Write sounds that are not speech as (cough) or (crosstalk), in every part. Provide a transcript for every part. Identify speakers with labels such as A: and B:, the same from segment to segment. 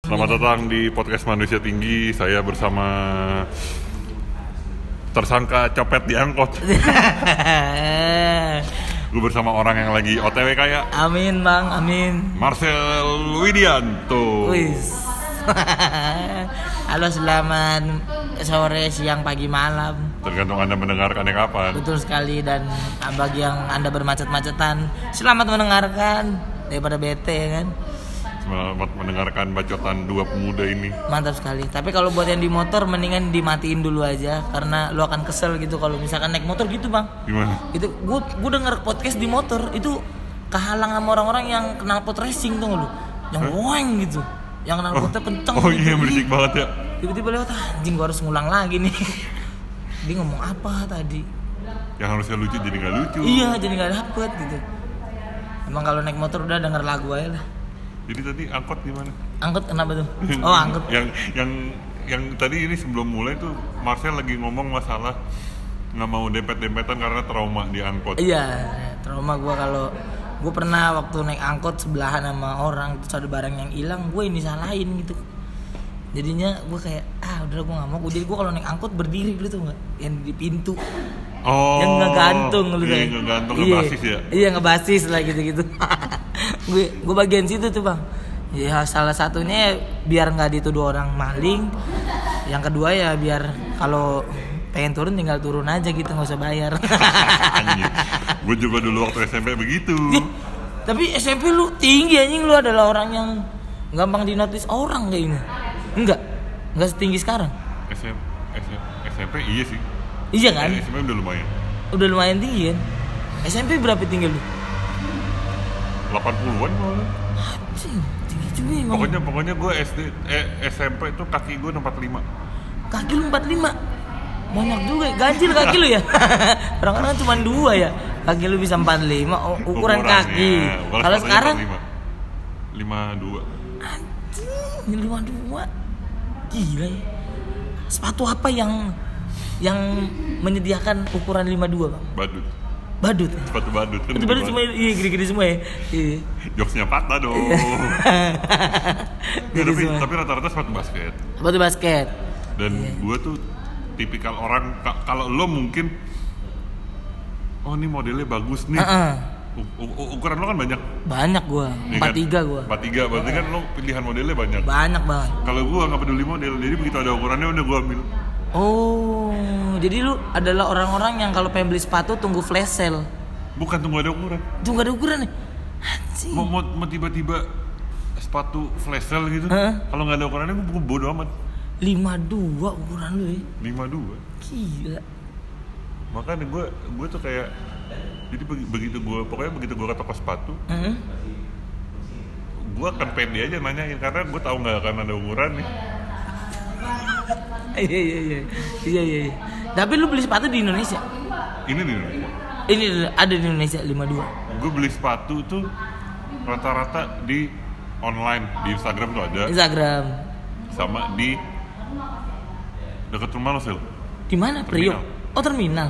A: Selamat datang di podcast Manusia Tinggi. Saya bersama tersangka copet di angkot. Gue bersama orang yang lagi OTW kayak
B: (laughs) amin bang, amin.
A: Marcel Widianto.
B: Wis. (laughs) Halo selamat sore, siang, pagi, malam.
A: Tergantung Anda mendengarkannya kapan.
B: Betul sekali dan bagi yang anda bermacet-macetan, selamat mendengarkan daripada bete ya kan.
A: Selamat mendengarkan bacotan dua pemuda ini.
B: Mantap sekali. Tapi kalau buat yang di motor mendingan dimatiin dulu aja karena lu akan kesel gitu kalau misalkan naik motor gitu bang.
A: Gimana?
B: Itu gue gue denger podcast di motor itu kehalang sama orang-orang yang kenal pot racing tuh lu, yang woeng gitu, yang kenal potnya kenceng.
A: Oh
B: gitu.
A: iya berisik banget ya.
B: tiba-tiba lewat "Ah, anjing gua harus ngulang lagi nih (laughs) dia ngomong apa tadi
A: Yang harusnya lucu jadi nggak lucu.
B: iya jadi nggak dapet gitu emang kalau naik motor udah denger lagu aja lah
A: Jadi tadi angkot gimana?
B: angkut kenapa
A: (laughs)
B: tuh oh angkut
A: yang yang yang tadi ini sebelum mulai tuh Marcel lagi ngomong masalah nggak mau dempet-dempetan karena trauma di angkot.
B: iya trauma gua kalau gue pernah waktu naik angkot sebelahan sama orang terus ada barang yang hilang gue ini salahin gitu jadinya gue kayak ah udah gue nggak mau jadi gue kalau naik angkut berdiri dulu tuh nggak yang di pintu
A: Oh.
B: yang ngegantung lu
A: Iya,
B: kayak.
A: ngegantung
B: Iya.
A: ngebasis
B: (laughs)
A: ya.
B: iya ngebasis lah gitu (laughs) gitu gue gue bagian situ tuh bang ya salah satunya biar nggak dituduh orang maling yang kedua ya biar kalau pengen turun tinggal turun aja gitu nggak usah bayar (laughs)
A: Gue juga dulu waktu SMP begitu.
B: Ih, tapi SMP lu tinggi anjing lu adalah orang yang gampang dinotis orang kayaknya enggak enggak setinggi sekarang
A: SMP, SMP iya sih. Eh,
B: iya kan
A: SMP udah lumayan.
B: udah lumayan tinggi kan SMP berapa tinggi lu
A: 80-an malah.
B: Anjing, tinggi juga ya, Bang.
A: Pokoknya pokoknya gue SD eh, SMP tuh kaki gue 45.
B: Kaki lu 45 Banyak juga ya, ganjil kaki lu ya (laughs) Orang-orang cuma dua ya Kaki lu bisa 45, oh, ukuran iya.
A: Ukurannya.
B: kaki
A: Kalau
B: Kalau sekarang,
A: 52.
B: ini 52 Gila ya Sepatu apa yang yang menyediakan ukuran 52 bang?
A: Badut.
B: Badut ya?
A: Sepatu badut kan
B: Itu
A: gede
B: badut
A: banget.
B: semua, iya gede-gede semua ya Iya
A: Jokesnya patah
B: (laughs)
A: dong. Ya, tapi,
B: Gede semua
A: tapi rata-rata sepatu basket.
B: Sepatu basket
A: Dan
B: Iya,
A: gue tuh tipikal orang ka- kalau lo mungkin oh ini modelnya bagus nih.
B: Heeh.
A: U- u- ukuran lo kan banyak.
B: Banyak gua,
A: ya
B: 43 gua
A: Kan? 43 berarti kan lo pilihan modelnya banyak.
B: Banyak banget
A: Kalau gue nggak peduli model, jadi begitu ada ukurannya udah gue ambil.
B: Oh, jadi lu adalah orang-orang yang kalau pengen beli sepatu tunggu flash sale.
A: Bukan tunggu ada ukuran.
B: Itu nggak ada ukuran nih. Anjing.
A: Mau, mau, mau tiba-tiba sepatu flash sale gitu.
B: Heeh.
A: Kalau nggak ada ukurannya gue bodo amat.
B: 52 ukuran lu ya.
A: 52.
B: Gila.
A: makanya gue gue tuh kayak jadi begi- begitu gue pokoknya begitu gue ke toko sepatu
B: Heeh.
A: gue akan pede aja nanyain karena gue tahu nggak akan ada ukuran nih
B: Iya iya iya. Iya iya. iya. Tapi lu beli sepatu di Indonesia.
A: ini nih
B: Ini ada di Indonesia 52.
A: gue beli sepatu tuh rata-rata di online di Instagram tuh ada
B: Instagram.
A: sama di dekat rumah lo sih
B: Di mana? Priok.
A: Terminal.
B: Oh, terminal.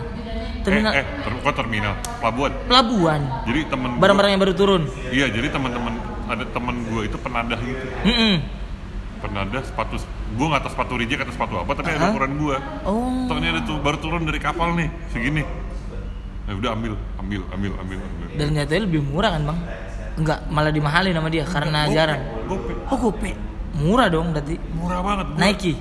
B: Terminal
A: eh, eh ter- kok terminal pelabuhan
B: pelabuhan.
A: jadi temen gua-
B: Barang-barang yang baru turun.
A: iya jadi teman-teman ada teman gue itu penadah gitu
B: Heeh.
A: penadah sepatu gue nggak tahu sepatu reject atau sepatu apa tapi ada
B: Aha.
A: ukuran gue
B: Oh.
A: Tong ini ada tuh baru turun dari kapal nih, segini. Nah, udah ambil, ambil, ambil, ambil, ambil.
B: Dan nyatanya lebih murah kan, Bang? Enggak, malah dimahalin sama dia
A: Gopay,
B: karena Nah, jarang.
A: Gopay.
B: Oh gope Murah dong berarti
A: Murah banget. Gua,
B: Nike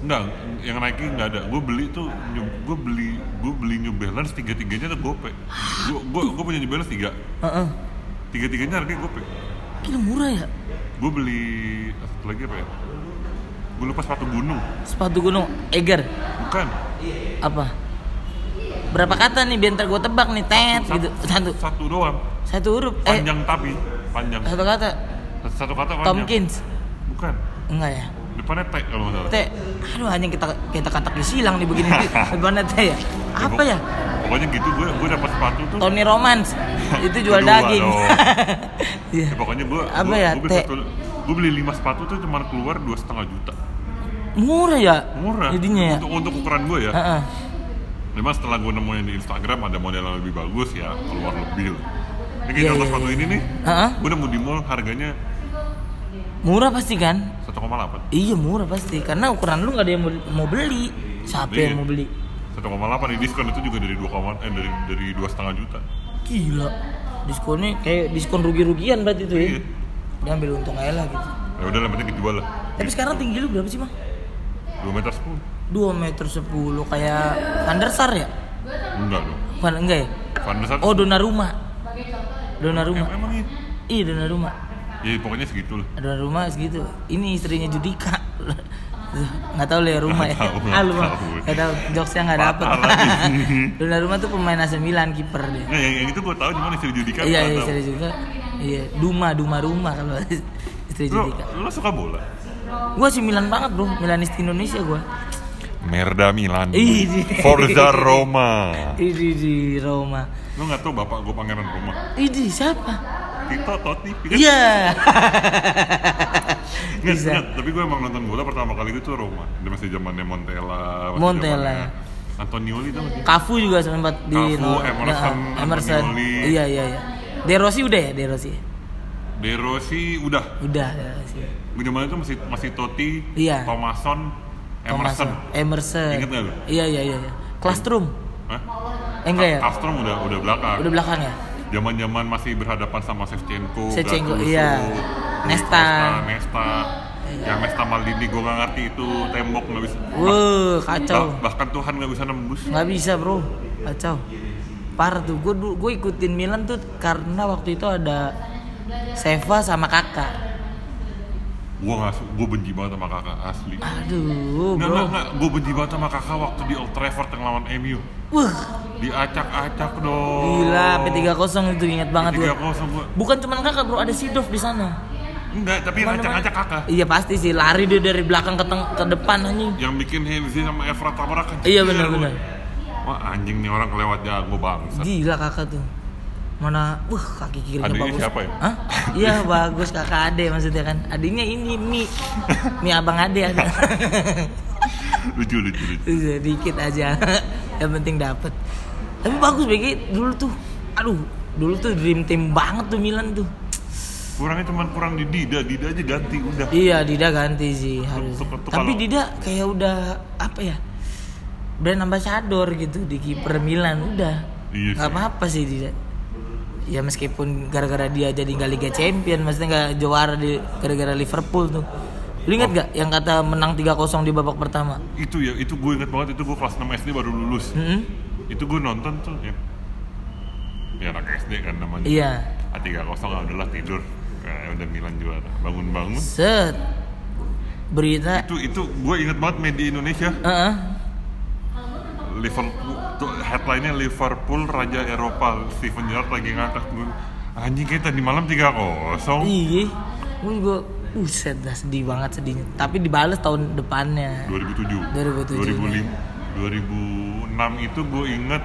A: Enggak, yang Nike enggak ada. Gue beli tuh gue beli gue beli New Balance tiga-tiganya tuh Gopay. Gue gue gue punya New Balance tiga.
B: Heeh.
A: Tiga-tiganya harganya Gopay.
B: Gila murah ya
A: Gue beli satu lagi apa ya? Gue lupa sepatu gunung.
B: Sepatu gunung Eger
A: Bukan.
B: Apa Berapa kata nih biar ntar gue tebak nih Tet gitu Satu
A: Satu doang.
B: Satu huruf Eh
A: Panjang tapi panjang.
B: Satu kata
A: Satu, satu kata panjang.
B: Tomkins
A: Bukan.
B: Enggak ya
A: Depannya T kalau nggak salah.
B: T Aduh anjing kita kita katak disilang nih
A: (laughs)
B: begini Gimana T ya Apa ya
A: Pokoknya gitu gue gue dapat sepatu tuh.
B: Tony
A: (laughs)
B: Romans Itu jual
A: Kedua
B: daging
A: dong.
B: (laughs) Iya
A: Ya, pokoknya gue
B: Apa
A: gua,
B: ya,
A: gua beli
B: teh?
A: satu- gua beli lima sepatu tuh cuma keluar dua setengah juta
B: Murah ya
A: murah
B: Jadinya ya
A: untuk untuk ukuran gue ya
B: Heeh.
A: memang setelah gue nemuin di Instagram ada model yang lebih bagus ya keluar lebih lah ini kayak
B: Iya,
A: contoh
B: iya,
A: sepatu ini nih
B: Heeh.
A: gue nemu di mall harganya
B: murah pasti kan
A: 1,8
B: iya murah pasti karena ukuran lu nggak ada yang mau- mau beli siapa yang mau beli
A: 1,8 di diskon itu juga dari 2, eh dari dari 2,5 juta.
B: gila diskonnya kayak diskon rugi-rugian berarti itu ya
A: Iya.
B: dia ambil untung aja lah gitu
A: Ya udah lah yang penting dijual lah.
B: tapi sekarang tinggi lu berapa sih mah
A: 2 meter 10.
B: 2 meter 10 kayak Van der Sar ya?
A: Enggak dong.
B: Bukan, enggak ya?
A: Van der Sar.
B: Oh, Donnarumma. Donnarumma.
A: em- emang iya.
B: Iya, Donnarumma.
A: Ya pokoknya segitu lah.
B: Donnarumma segitu. gitu. Ini istrinya Judika. (laughs) Nggak tahu lah ya rumah ya.
A: Nggak tahu, nggak
B: Ah, lu mah.
A: tahu.
B: Nggak tahu. Jokesnya nggak dapet.
A: Patah
B: (laughs)
A: lagi.
B: Donnarumma tuh pemain AC Milan kiper dia.
A: Nah, yang, yang itu gue tahu cuman istri Judika. gua
B: Iya, iya,
A: tahu.
B: istri juga. Iya, Duma, Duma rumah kalau (laughs) istri
A: Lu,
B: Judika.
A: lu suka bola?
B: Gua sih Milan banget, Bro. Milanisti Indonesia gua.
A: Merda Milan.
B: Ih, iya. di-
A: Forza Roma.
B: Ini di Roma.
A: Lu nggak tahu bapak gue pangeran Roma.
B: Ini siapa?
A: Tito Kan Totti. Ingat?
B: Iya.
A: Ingat,
B: Bisa.
A: ingat. Iya. Tapi gue emang nonton bola pertama kali itu Roma. Dia masih zamannya Montella. masih
B: Montella.
A: zamannya Antonioli tuh masih.
B: Cafu juga sempat di
A: Cafu,
B: no-
A: Emerson,
B: nah, Emerson.
A: Antonioli.
B: Iya iya iya. De Rossi udah ya De Rossi.
A: De Rossi udah
B: Udah De Rossi.
A: Gue zaman itu masih masih Totti,
B: Iya.
A: Thomason, Emerson.
B: Thomas- Emerson.
A: Ingat nggak lu?
B: Iya iya iya. iya. Classroom.
A: Hah?
B: Eh, enggak ya?
A: Castro udah udah belakang.
B: Udah belakang ya?
A: Zaman-zaman masih berhadapan sama Shevchenko,
B: Shevchenko,
A: Gattuso,
B: iya. Nesta. Iya.
A: Nesta, Nesta. Yang Nesta Maldini gue gak ngerti itu tembok nggak bisa.
B: Wuh, kacau.
A: Bah- bahkan Tuhan nggak bisa nembus.
B: Nggak bisa, Bro. Kacau. Parah tuh. Gue gue ikutin Milan tuh karena waktu itu ada Seva sama Kakak.
A: Gue nggak, su- gue benci banget sama kakak asli.
B: Aduh,
A: Nggak, nggak,
B: Bro.
A: nggak. Gue benci banget sama kakak waktu di Old Trafford yang lawan MU.
B: Wah,
A: Diacak-acak dong.
B: gila P30 itu ingat banget
A: Oh.
B: gue.
A: Tiga kosong gue.
B: Bukan cuman Kakak, Bro, ada Sidov di sana.
A: Enggak, tapi acak-acak kakak.
B: Iya pasti sih lari dia dari belakang ke teng- ke depan anjing.
A: yang bikin Hemzi sama Efrat tabrakan
B: Iya, benar-benar.
A: wah anjing nih orang kelewat jago bangsat
B: Gila kakak tuh. Mana wah kaki kirinya
A: Adiknya
B: bagus.
A: siapa ya? (laughs)
B: Hah? Iya bagus kakak Ade maksudnya kan. Adiknya ini Mi. Mi Abang Ade ada. Iya,
A: lucu lucu lucu
B: Dikit aja. (laughs) Yang penting dapet. Tapi bagus BG dulu tuh. Aduh, dulu tuh dream team banget tuh Milan tuh.
A: kurangnya cuman kurang di Dida Dida aja ganti udah
B: Iya, Dida ganti sih harus.
A: Tuh- tuh
B: Tapi
A: kalau-
B: Dida kayak udah apa ya? Brand ambassador gitu di kiper Milan udah.
A: Iya
B: Nggak
A: sih.
B: apa-apa sih Dida. Ya meskipun gara-gara dia jadi nggak Liga Champion, maksudnya nggak juara di gara-gara Liverpool tuh. Lu ingat
A: Oh.
B: gak yang kata menang 3-0 di babak pertama?
A: itu ya itu gue inget banget itu gue kelas 6 SD baru lulus
B: Mm-mm.
A: itu gue nonton tuh ya, ya anak SD kan namanya
B: Iya.
A: a tiga kosong adalah tidur Nah, udah Milan juara bangun bangun
B: Set. Berita.
A: itu itu gue inget banget media Indonesia
B: Heeh.
A: Liverpool tuh headline-nya Liverpool Raja Eropa Steven Gerrard lagi ngangkat gue anjing kayak tadi malam 3-0
B: Iya. Gue juga Buset dah sedih banget sedihnya. Tapi dibales tahun depannya.
A: 2007
B: 2007 -nya.
A: 2005 2006 itu gue inget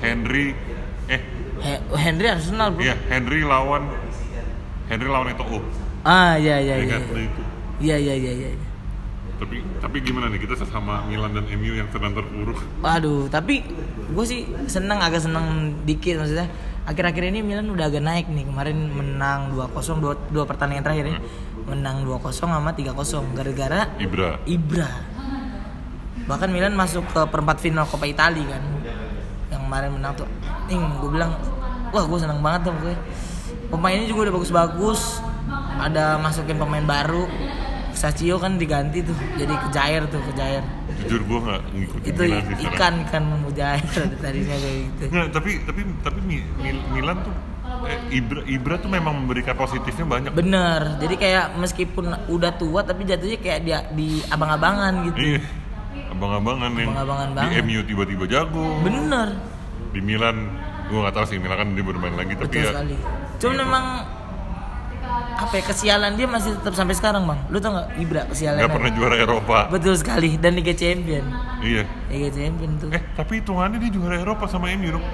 A: Henry eh
B: He- Henry Arsenal bro.
A: iya Henry lawan Henry lawan Eto'o
B: Ah iya iya iya.
A: ingat tuh itu
B: Iya iya iya iya.
A: tapi tapi gimana nih kita sesama Milan dan MU yang sedang terpuruk
B: Waduh, tapi gue sih seneng agak seneng dikit maksudnya. Akhir-akhir ini Milan udah agak naik nih. Kemarin menang 2-0 dua, dua pertandingan terakhir ya. Menang 2-0 sama 3-0 gara-gara
A: Ibra
B: Ibra. Bahkan Milan masuk ke perempat final Coppa Italia kan. Yang kemarin menang tuh. Ing, gue bilang, wah gue seneng banget dong gue. Pemainnya juga udah bagus-bagus. Ada masukin pemain baru. Sacchio kan diganti tuh. Jadi kejair tuh, kejair.
A: jujur gue nggak ngikutin
B: Itu
A: Milan sih sekarang.
B: ikan kan, ikan mau mujair (laughs) tadinya kayak gitu.
A: Nggak, Iya, tapi tapi tapi Mi- Mil- Milan tuh eh, Ibra Ibra tuh memang memberikan positifnya banyak
B: Bener, jadi kayak meskipun udah tua tapi jatuhnya kayak dia di abang-abangan gitu.
A: iya abang-abangan yang
B: Abang-abangan
A: di
B: banget.
A: MU tiba-tiba jago
B: Bener,
A: di Milan gue nggak tahu sih Milan kan dia bermain lagi tapi
B: Betul
A: ya
B: sekali. Cuma memang apa ya kesialan dia masih tetap sampai sekarang bang. Lu tau nggak Ibra kesialan?
A: nggak pernah juara Eropa
B: Betul sekali dan Liga Champion.
A: iya
B: Liga Champion tuh.
A: eh tapi hitungannya dia juara Eropa sama MU dong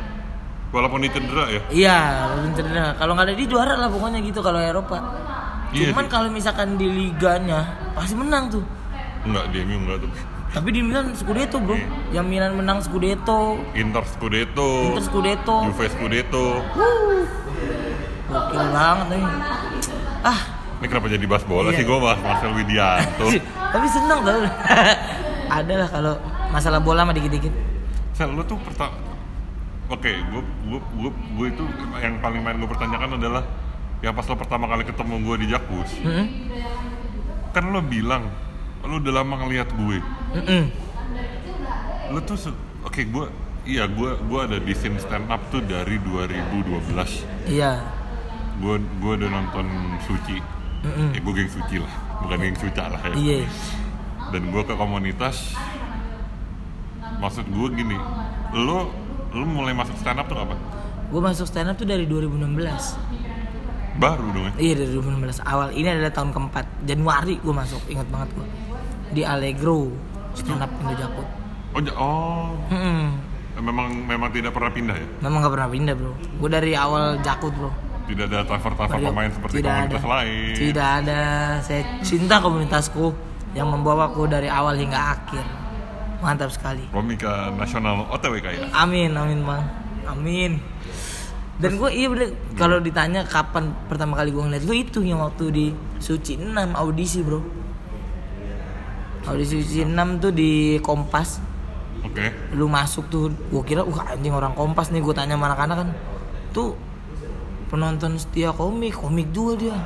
A: walaupun dia cedera ya
B: Iya, bener Kalau nggak ada dia juara lah pokoknya gitu kalau Eropa.
A: Iya
B: Cuman
A: sih.
B: kalau misalkan di liganya pasti menang tuh.
A: nggak di MU nggak tuh
B: Tapi di Milan Scudetto bro.
A: Iya.
B: Yang Milan menang Scudetto,
A: Inter Scudetto
B: Inter Scudetto.
A: Juve Scudetto Iya.
B: Gokil banget nih. eh. Ah,
A: Ini kenapa jadi bahas bola
B: Iya.
A: sih gue bahas Marcel Widianto.
B: (laughs) tapi seneng tau ada lah kalau masalah bola mah dikit-dikit
A: Sel, lu tuh pertama Oke, gue gue gue gue itu yang paling main gue pertanyakan adalah yang pas lo pertama kali ketemu gue di Jakus,
B: Mm-mm.
A: kan lo bilang lo udah lama ngeliat gue.
B: Mm-mm.
A: Lo tuh se- oke gue iya gue gue ada di scene stand up tuh dari 2012.
B: iya
A: gue gue udah nonton suci ya gue geng suci lah bukan geng suca lah ya
B: iya
A: dan gue ke komunitas maksud gue gini lo lo mulai masuk stand up tuh apa
B: gue masuk stand up tuh dari 2016
A: baru dong ya
B: iya dari 2016 awal ini adalah tahun keempat Januari gue masuk ingat banget gue di Allegro stand up Indo Jakut
A: oh, ja- oh
B: Mm-mm.
A: memang memang tidak pernah pindah ya
B: memang gak pernah pindah bro gue dari awal Jakut bro
A: tidak ada transfer transfer
B: Tidak-
A: pemain seperti
B: tidak
A: komunitas
B: ada.
A: lain
B: Tidak ada. Saya cinta komunitasku yang membawaku dari awal hingga akhir. Mantap sekali.
A: komika nasional otw kayak ya?
B: Amin, amin bang. Amin. Dan gue iya bener, kalau ditanya kapan pertama kali gue ngeliat lu itu yang waktu di Suci 6 audisi bro Audisi Suci 6 tuh di Kompas
A: oke
B: Lu masuk tuh, gue kira wah anjing orang Kompas nih gue tanya sama anak-anak kan Tuh penonton setia komik, komik juga dia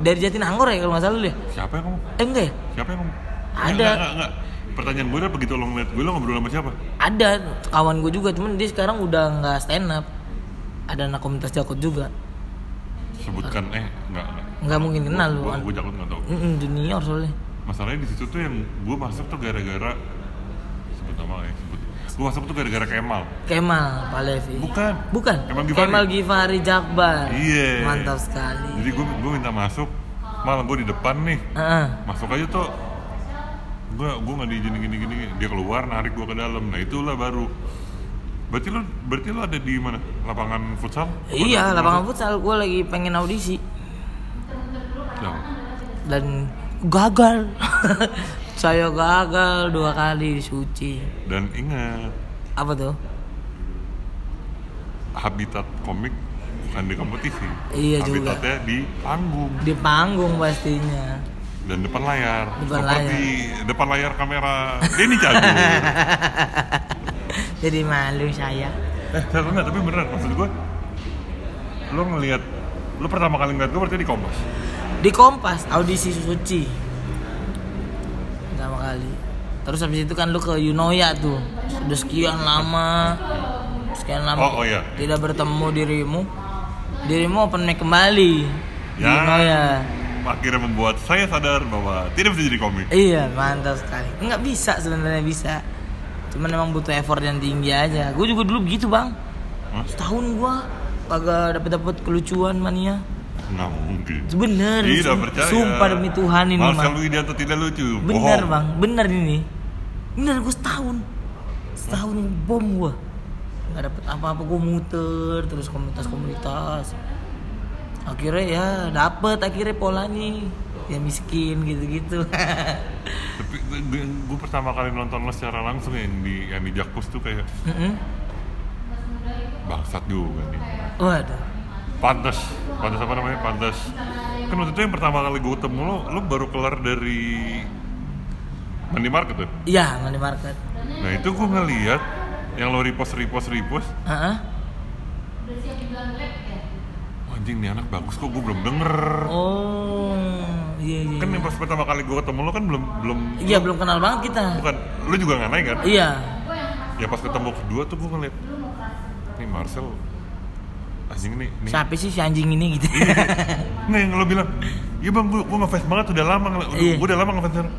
B: Dari Jatinangor ya kalau nggak salah lu dia
A: siapa yang ngomong
B: Eh enggak ya?
A: siapa yang ngomong
B: Ada.
A: enggak, enggak, enggak. pertanyaan gue adalah begitu lo ngeliat gue lo ngobrol sama siapa
B: Ada kawan gue juga, cuman dia sekarang udah nggak stand up. Ada anak komunitas Jakut juga.
A: sebutkan eh enggak enggak
B: Nggak mungkin kenal lu.
A: gue takut nggak tahu
B: Mm-mm, junior soalnya.
A: masalahnya di situ tuh yang gue masuk tuh gara-gara sebut nama ya sebut gue masuk tuh gara-gara Kemal
B: Kemal Palevi.
A: bukan
B: Bukan.
A: Kemal Givari.
B: Kemal Givari Jakbar.
A: Iya.
B: Mantap sekali.
A: jadi gue gue minta masuk malah gue di depan nih
B: Heeh.
A: masuk aja tuh gue gue nggak diizinin gini gini dia keluar narik gue ke dalam nah itulah baru berarti lo berarti lo ada di mana lapangan futsal
B: Iya, lapangan futsal gue lagi pengen audisi
A: Nah,
B: dan gagal. (laughs) Saya gagal dua kali di suci.
A: dan ingat
B: Apa tuh?
A: habitat komik bukan di kompetisi
B: Iya juga.
A: habitatnya di panggung
B: Di panggung pastinya.
A: dan depan layar
B: Depan
A: seperti depan layar kamera Denny
B: (laughs)
A: Cagur
B: Jadi malu saya.
A: eh satu enggak tapi beneran maksud gue lo ngelihat lo pertama kali ngeliat gue berarti di kompas
B: di Kompas audisi Suci pertama kali terus habis itu kan lu ke Yunoya tuh udah sekian lama sekian lama
A: Oh, oh, iya.
B: tidak bertemu dirimu dirimu open mic kembali di
A: Ya.
B: Yunoya
A: akhirnya membuat saya sadar bahwa tidak bisa jadi komik
B: iya mantap sekali nggak bisa sebenarnya bisa cuman emang butuh effort yang tinggi aja gue juga dulu begitu bang
A: Hah?
B: setahun gua kagak dapet dapet kelucuan mania
A: nggak mungkin
B: bener
A: tidak
B: sum-
A: Iya, percaya ya,
B: sumpah demi Tuhan ini
A: Marcel
B: Bang.
A: Widianto tidak lucu
B: Bener
A: bohong
B: bang, bener ini. Bener gue setahun, setahun bom gue. Gak dapet apa-apa gue muter terus komunitas-komunitas. Akhirnya ya dapet akhirnya polanya ya miskin gitu-gitu. (laughs)
A: tapi gue, gue pertama kali nonton lo secara langsung ya, yang di yang di Jakpus tuh kayak
B: Mm-mm.
A: bangsat juga nih
B: Waduh,
A: Pantes, pantes apa namanya? Pantes. Kan waktu itu yang pertama kali gue ketemu lo, lo baru kelar dari mandi market tuh.
B: iya money market.
A: Nah itu gue ngeliat yang lo repost, repost, repost.
B: Heeh.
A: Anjing nih anak bagus kok gue belum denger.
B: Oh, iya iya.
A: Kan yang pas pertama kali gue ketemu lo kan belum belum
B: Iya belum kenal banget kita.
A: bukan lo juga nggak naik kan?
B: Iya.
A: Ya pas ketemu kedua tuh gue ngeliat nih Marcel anjing nih nih
B: Siapa sih si anjing ini gitu?
A: Nggak yang lo bilang, iya bang, gue gue ngefans banget udah lama, ngel- udah,
B: Iya.
A: gue udah lama ngefans sama lo."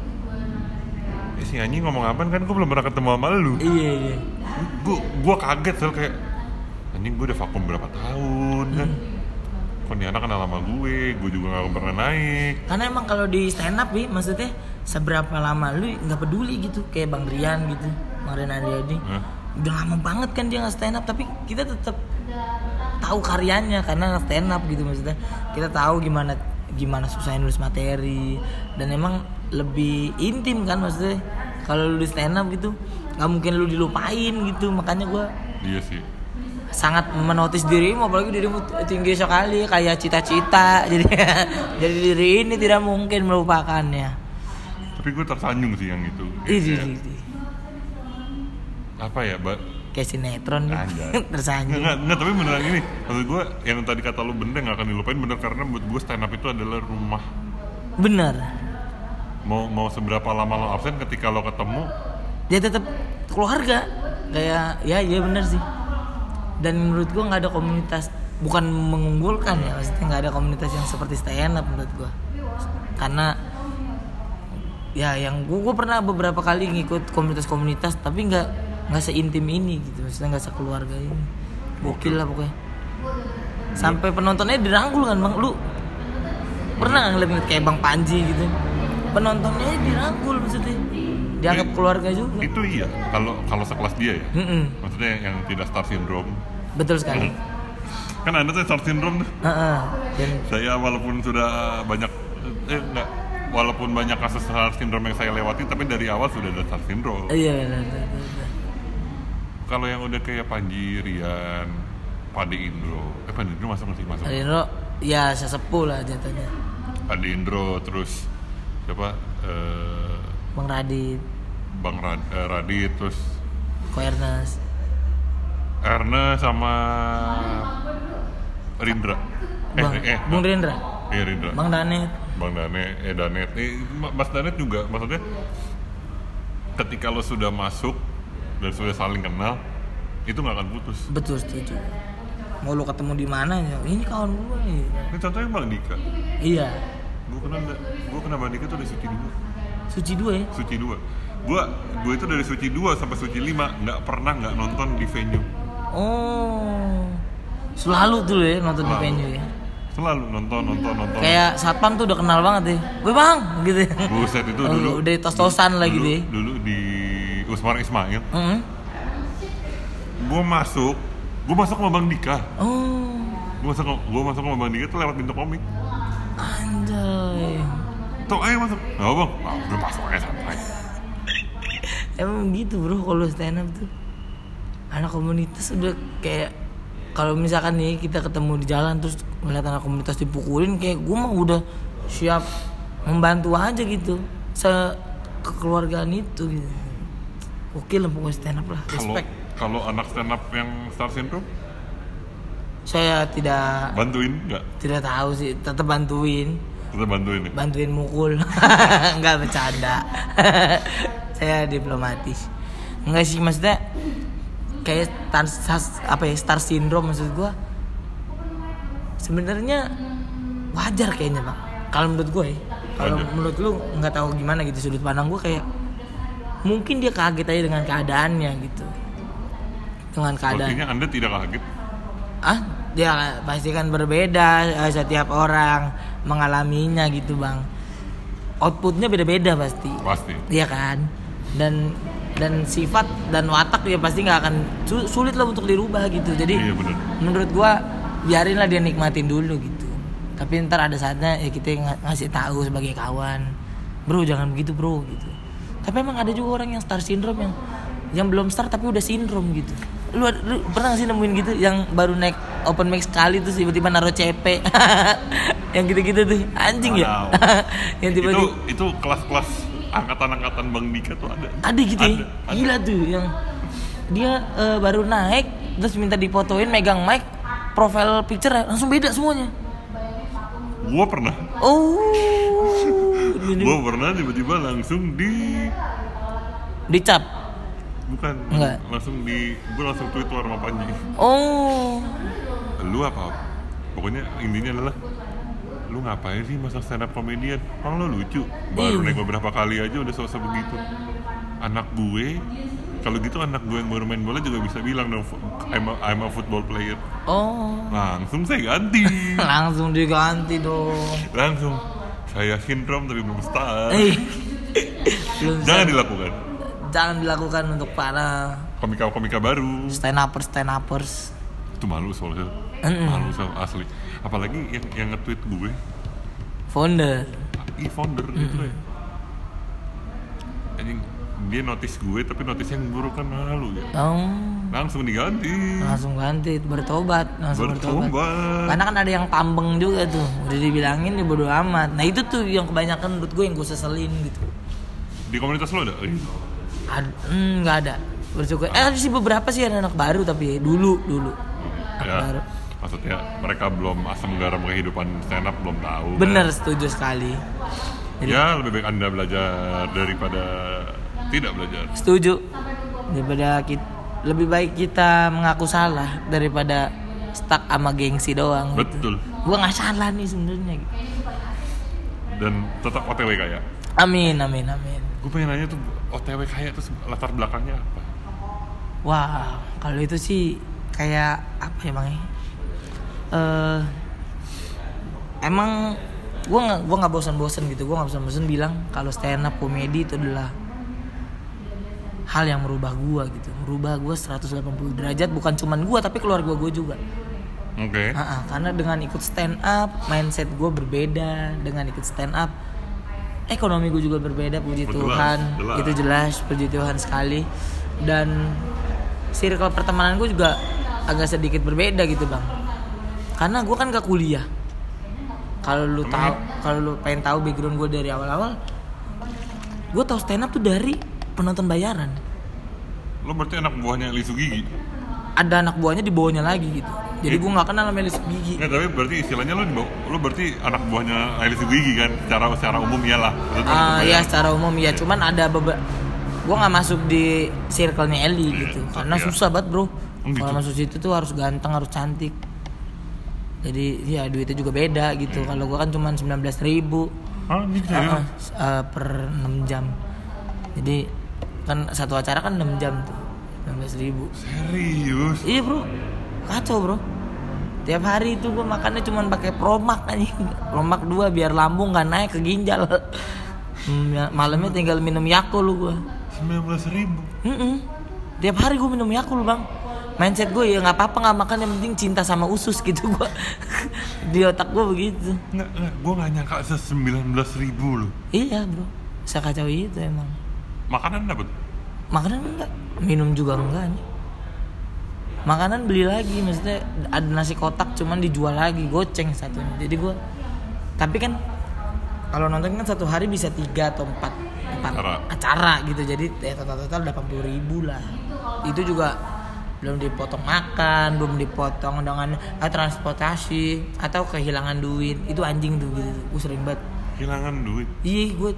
A: Eh, si anjing ngomong apaan kan gue belum pernah ketemu sama lu
B: (laughs) iya iya.
A: Gue gue kaget soal kayak Anjing gue udah vakum berapa tahun kan Kok nih anak kenal sama gue, gue juga gak pernah naik
B: karena emang kalau di stand up Bi, maksudnya seberapa lama lu nggak peduli gitu kayak bang Rian gitu bang Rian Ariadi
A: Hah?
B: udah lama banget kan dia nggak stand up tapi kita tetap tahu karyanya karena nggak stand up gitu maksudnya kita tahu gimana gimana susahnya nulis materi dan emang lebih intim kan maksudnya kalau lu di stand up gitu nggak mungkin lu dilupain gitu makanya gua
A: Iya sih
B: sangat menotis dirimu apalagi dirimu tinggi sekali kayak cita-cita (laughs) jadi jadi diri ini tidak mungkin melupakannya
A: tapi gue tersanjung sih yang itu
B: Ih,
A: Kayak-
B: ih, ih, ih.
A: apa ya mbak
B: kayak sinetron gitu
A: Anjay.
B: (laughs) tersanjung
A: Nggak, nggak, tapi beneran ini Maksud gue yang tadi kata lu bener nggak akan dilupain bener Karena buat gue stand up itu adalah rumah
B: bener
A: Mau mau seberapa lama lo absen ketika lo ketemu
B: dia tetap keluarga kayak ya iya bener sih dan menurut gua nggak ada komunitas bukan mengunggulkan ya maksudnya nggak ada komunitas yang seperti stand up menurut gua karena ya yang gua, gua pernah beberapa kali ngikut komunitas-komunitas tapi nggak nggak seintim ini gitu maksudnya nggak sekeluarga ini gokil lah pokoknya sampai penontonnya dirangkul kan bang lu pernah nggak ngeliat ngeliat kayak bang Panji gitu penontonnya dirangkul maksudnya dianggap keluarga juga
A: Itu iya, kalau kalau sekelas dia ya
B: Mm-mm,
A: Maksudnya yang, yang tidak star syndrome
B: betul sekali
A: Kan ada tuh star syndrome tuh
B: Heeh, dan
A: Saya walaupun sudah banyak Eh enggak Walaupun banyak kasus star syndrome yang saya lewati Tapi dari awal sudah ada star syndrome
B: iya benar, benar, benar.
A: Kalau yang udah kayak Panji, Rian, Pade Indro Eh Pade Indro masuk nggak sih? Masuk
B: Rino ya sesepuh lah jatuhnya
A: Adi Indro terus siapa eh,
B: Bang Radit
A: Bang Rad, eh, Radit terus
B: Ko Ernest
A: Erne sama Rindra eh
B: Bang
A: eh
B: Bung Rendra
A: iya, Rindra
B: Bang Danet
A: Bang Dane eh Danet eh, Ma- Mas Danet juga maksudnya ketika lo sudah masuk dan sudah saling kenal itu nggak akan putus
B: betul setuju mau lu ketemu di mana ya ini kawan gue nih
A: ini contohnya Bang Dika
B: iya
A: gue kenal gue kenal Bang Dika tuh dari Suci dulu
B: suci dua ya
A: Suci 2 Gue gue itu dari Suci 2 sampai Suci 5 nggak pernah nggak nonton di venue
B: oh selalu tuh lu ya nonton di
A: Selalu.
B: venue ya
A: Selalu nonton, nonton, nonton
B: kayak satpam tuh udah kenal banget ya gue bang gitu ya
A: Buset itu
B: Oh,
A: dulu
B: udah tos-tosan lagi
A: dulu,
B: deh
A: Dulu di Usmar Ismail
B: Mm-mm.
A: Gue masuk Gue masuk sama Bang Dika
B: oh
A: Gue masuk, gua masuk sama Bang Dika tuh lewat pintu komik
B: anjay
A: Tuh ayo masuk Gak bang, ah, udah masuk aja santai
B: Emang gitu bro kalau stand up tuh anak komunitas udah kayak kalau misalkan nih kita ketemu di jalan terus ngeliat anak komunitas dipukulin kayak gue mah udah siap membantu aja gitu se kekeluargaan itu gitu. Oke lah pokoknya stand up lah.
A: Kalau
B: Respect.
A: kalau anak stand up yang Star Syndrome
B: Saya tidak
A: Bantuin nggak?
B: tidak tahu sih tetap bantuin
A: Kita bantuin ya
B: bantuin mukul (laughs) nggak bercanda (laughs) saya diplomatis nggak sih maksudnya kayak star, sas- apa ya star syndrome maksud gua sebenarnya wajar kayaknya bang kalau menurut gue ya. kalau
A: Wajar.
B: menurut lu nggak tahu gimana gitu sudut pandang gue kayak mungkin dia kaget aja dengan keadaannya gitu dengan keadaan
A: Sepertinya anda tidak kaget
B: ah ya pasti kan berbeda eh, setiap orang mengalaminya gitu bang outputnya beda-beda pasti
A: Pasti
B: iya kan dan dan sifat dan watak ya pasti nggak akan su- sulit lah untuk dirubah gitu jadi
A: Iya bener
B: menurut gua biarinlah dia nikmatin dulu gitu tapi ntar ada saatnya ya kita ng- ngasih tahu sebagai kawan bro jangan begitu bro gitu tapi emang ada juga orang yang star syndrome yang yang belum star tapi udah sindrom gitu lu, ad- lu pernah nggak sih nemuin gitu yang baru naik open mic sekali terus tiba-tiba naruh CP (laughs) yang gitu-gitu tuh anjing
A: Wow.
B: ya (laughs) yang
A: itu
B: tiba-tiba
A: itu kelas-kelas angkatan-angkatan Bang Dika tuh ada.
B: ada gitu ya
A: Ada, ada.
B: gila tuh yang dia eh, baru naik terus minta dipotoin megang mic profile picture langsung beda semuanya
A: Gua pernah. (laughs)
B: oh
A: Gua pernah tiba-tiba langsung di
B: dicap
A: bukan
B: Enggak.
A: langsung di gua langsung tweet war sama Panji.
B: oh
A: Lu apa? Pokoknya intinya adalah lu ngapain sih masuk stand up comedian? Orang lu lucu. Baru
B: Iya.
A: naik beberapa kali aja udah sosok begitu. Anak gue kalau gitu anak gue yang baru main bola juga bisa bilang dong I'm a, I'm a football player.
B: oh
A: Langsung saya
B: (laughs)
A: ganti.
B: langsung diganti dong
A: langsung saya sindrom tapi belum start
B: Eh. iya, Belum
A: jangan
B: bisa-
A: dilakukan
B: jangan dilakukan untuk para
A: komika komika baru
B: stand upers stand upers
A: itu malu soalnya
B: Mm-mm.
A: malu soal asli apalagi yang yang nge-tweet gue
B: founder
A: e founder gitu ya anjing dia notice gue tapi notice yang buruk kan malu ya
B: oh
A: langsung diganti
B: langsung ganti bertobat Ah, langsung bertobat.
A: Bertobat.
B: karena kan ada yang tambeng juga tuh udah dibilangin ya bodo amat nah itu tuh yang kebanyakan menurut gue yang gue seselin gitu
A: di komunitas lo ada Ih,
B: Ad- hmm, nggak ada bersyukur eh ada sih beberapa sih ada anak baru tapi dulu dulu anak
A: ya
B: baru
A: maksudnya mereka belum asam garam kehidupan stand up belum tahu kan.
B: bener setuju sekali Jadi-
A: ya lebih baik anda belajar daripada tidak belajar
B: Oh, setuju daripada kita lebih baik kita mengaku salah daripada stuck sama gengsi doang gitu.
A: betul
B: Gua nggak salah nih sebenarnya. gitu.
A: dan tetap otw kaya
B: Amin amin amin.
A: gue pengen nanya tuh otw kaya terus latar belakangnya apa
B: Wah, kalau itu sih kayak apa ya bang? ya? Eh, emang gue nggak gua nggak bosan-bosan gitu, gue nggak bosan-bosan bilang kalau stand up komedi itu adalah hal yang merubah gua gitu, merubah gua 180 derajat bukan cuman gua tapi keluarga gua juga.
A: oke
B: Ah, ah, karena dengan ikut stand up, mindset gue berbeda. Dengan ikut stand up, ekonomi gue juga berbeda. Puji
A: Jelas,
B: Tuhan,
A: jelas.
B: itu jelas. Puji Tuhan sekali. Dan circle pertemanan gue juga agak sedikit berbeda gitu bang. Karena gue kan gak kuliah. Kalau lu tahu, kalau lu pengen tahu background gue dari awal-awal, gue tahu stand up tuh dari penonton bayaran.
A: lo berarti anak buahnya Lisu Gigi
B: Ada anak buahnya di bawahnya lagi gitu. Jadi gue nggak kenal sama Elis Gigi.
A: Nggak, tapi berarti istilahnya lo di bawah- lo berarti anak buahnya Lisu Gigi kan secara secara umum ya iyalah Maksudnya
B: Ah
A: kebayang.
B: ya secara umum ya, cuman ada beberapa gue nggak masuk di circle-nya Eli gitu,
A: tetap
B: karena
A: ya.
B: susah banget bro.
A: gitu.
B: Kalau masuk situ tuh harus ganteng, harus cantik. Jadi ya duitnya juga beda gitu. Kalau gua kan cuman 19.000 ribu
A: Hah,
B: eh,
A: Ah, ini serius?
B: Ah, per 6 jam. Jadi kan satu acara kan 6 jam tuh, 19.000 ribu.
A: serius
B: Iya bro, kacau bro. Tiap hari itu gue makannya cuman pakai promak aja, promak dua biar lambung nggak naik ke ginjal. Hmm, ya- Malamnya tinggal minum Yakult lu gue.
A: sembilan belas ribu
B: Tiap hari gue minum Yakult bang. Mindset gue ya nggak apa-apa nggak makan yang penting cinta sama usus gitu gue. (laughs) Di otak gue begitu.
A: Nggak, nggak, gue nggak nyangka se 19.000 ribu loh
B: Iya bro, sekacau itu emang.
A: Makanan dapet?
B: Makanan enggak, minum juga enggak nih. Makanan beli lagi, maksudnya ada nasi kotak cuman dijual lagi, goceng satunya. Jadi gua tapi kan kalau nonton kan satu hari bisa tiga atau empat empat
A: Acara.
B: acara gitu. Jadi ya total-total 80 ribu lah. Itu juga belum dipotong makan, belum dipotong dengan eh, transportasi atau kehilangan duit. Itu anjing tuh gitu. Gue sering banget
A: Kehilangan duit
B: Iya, gue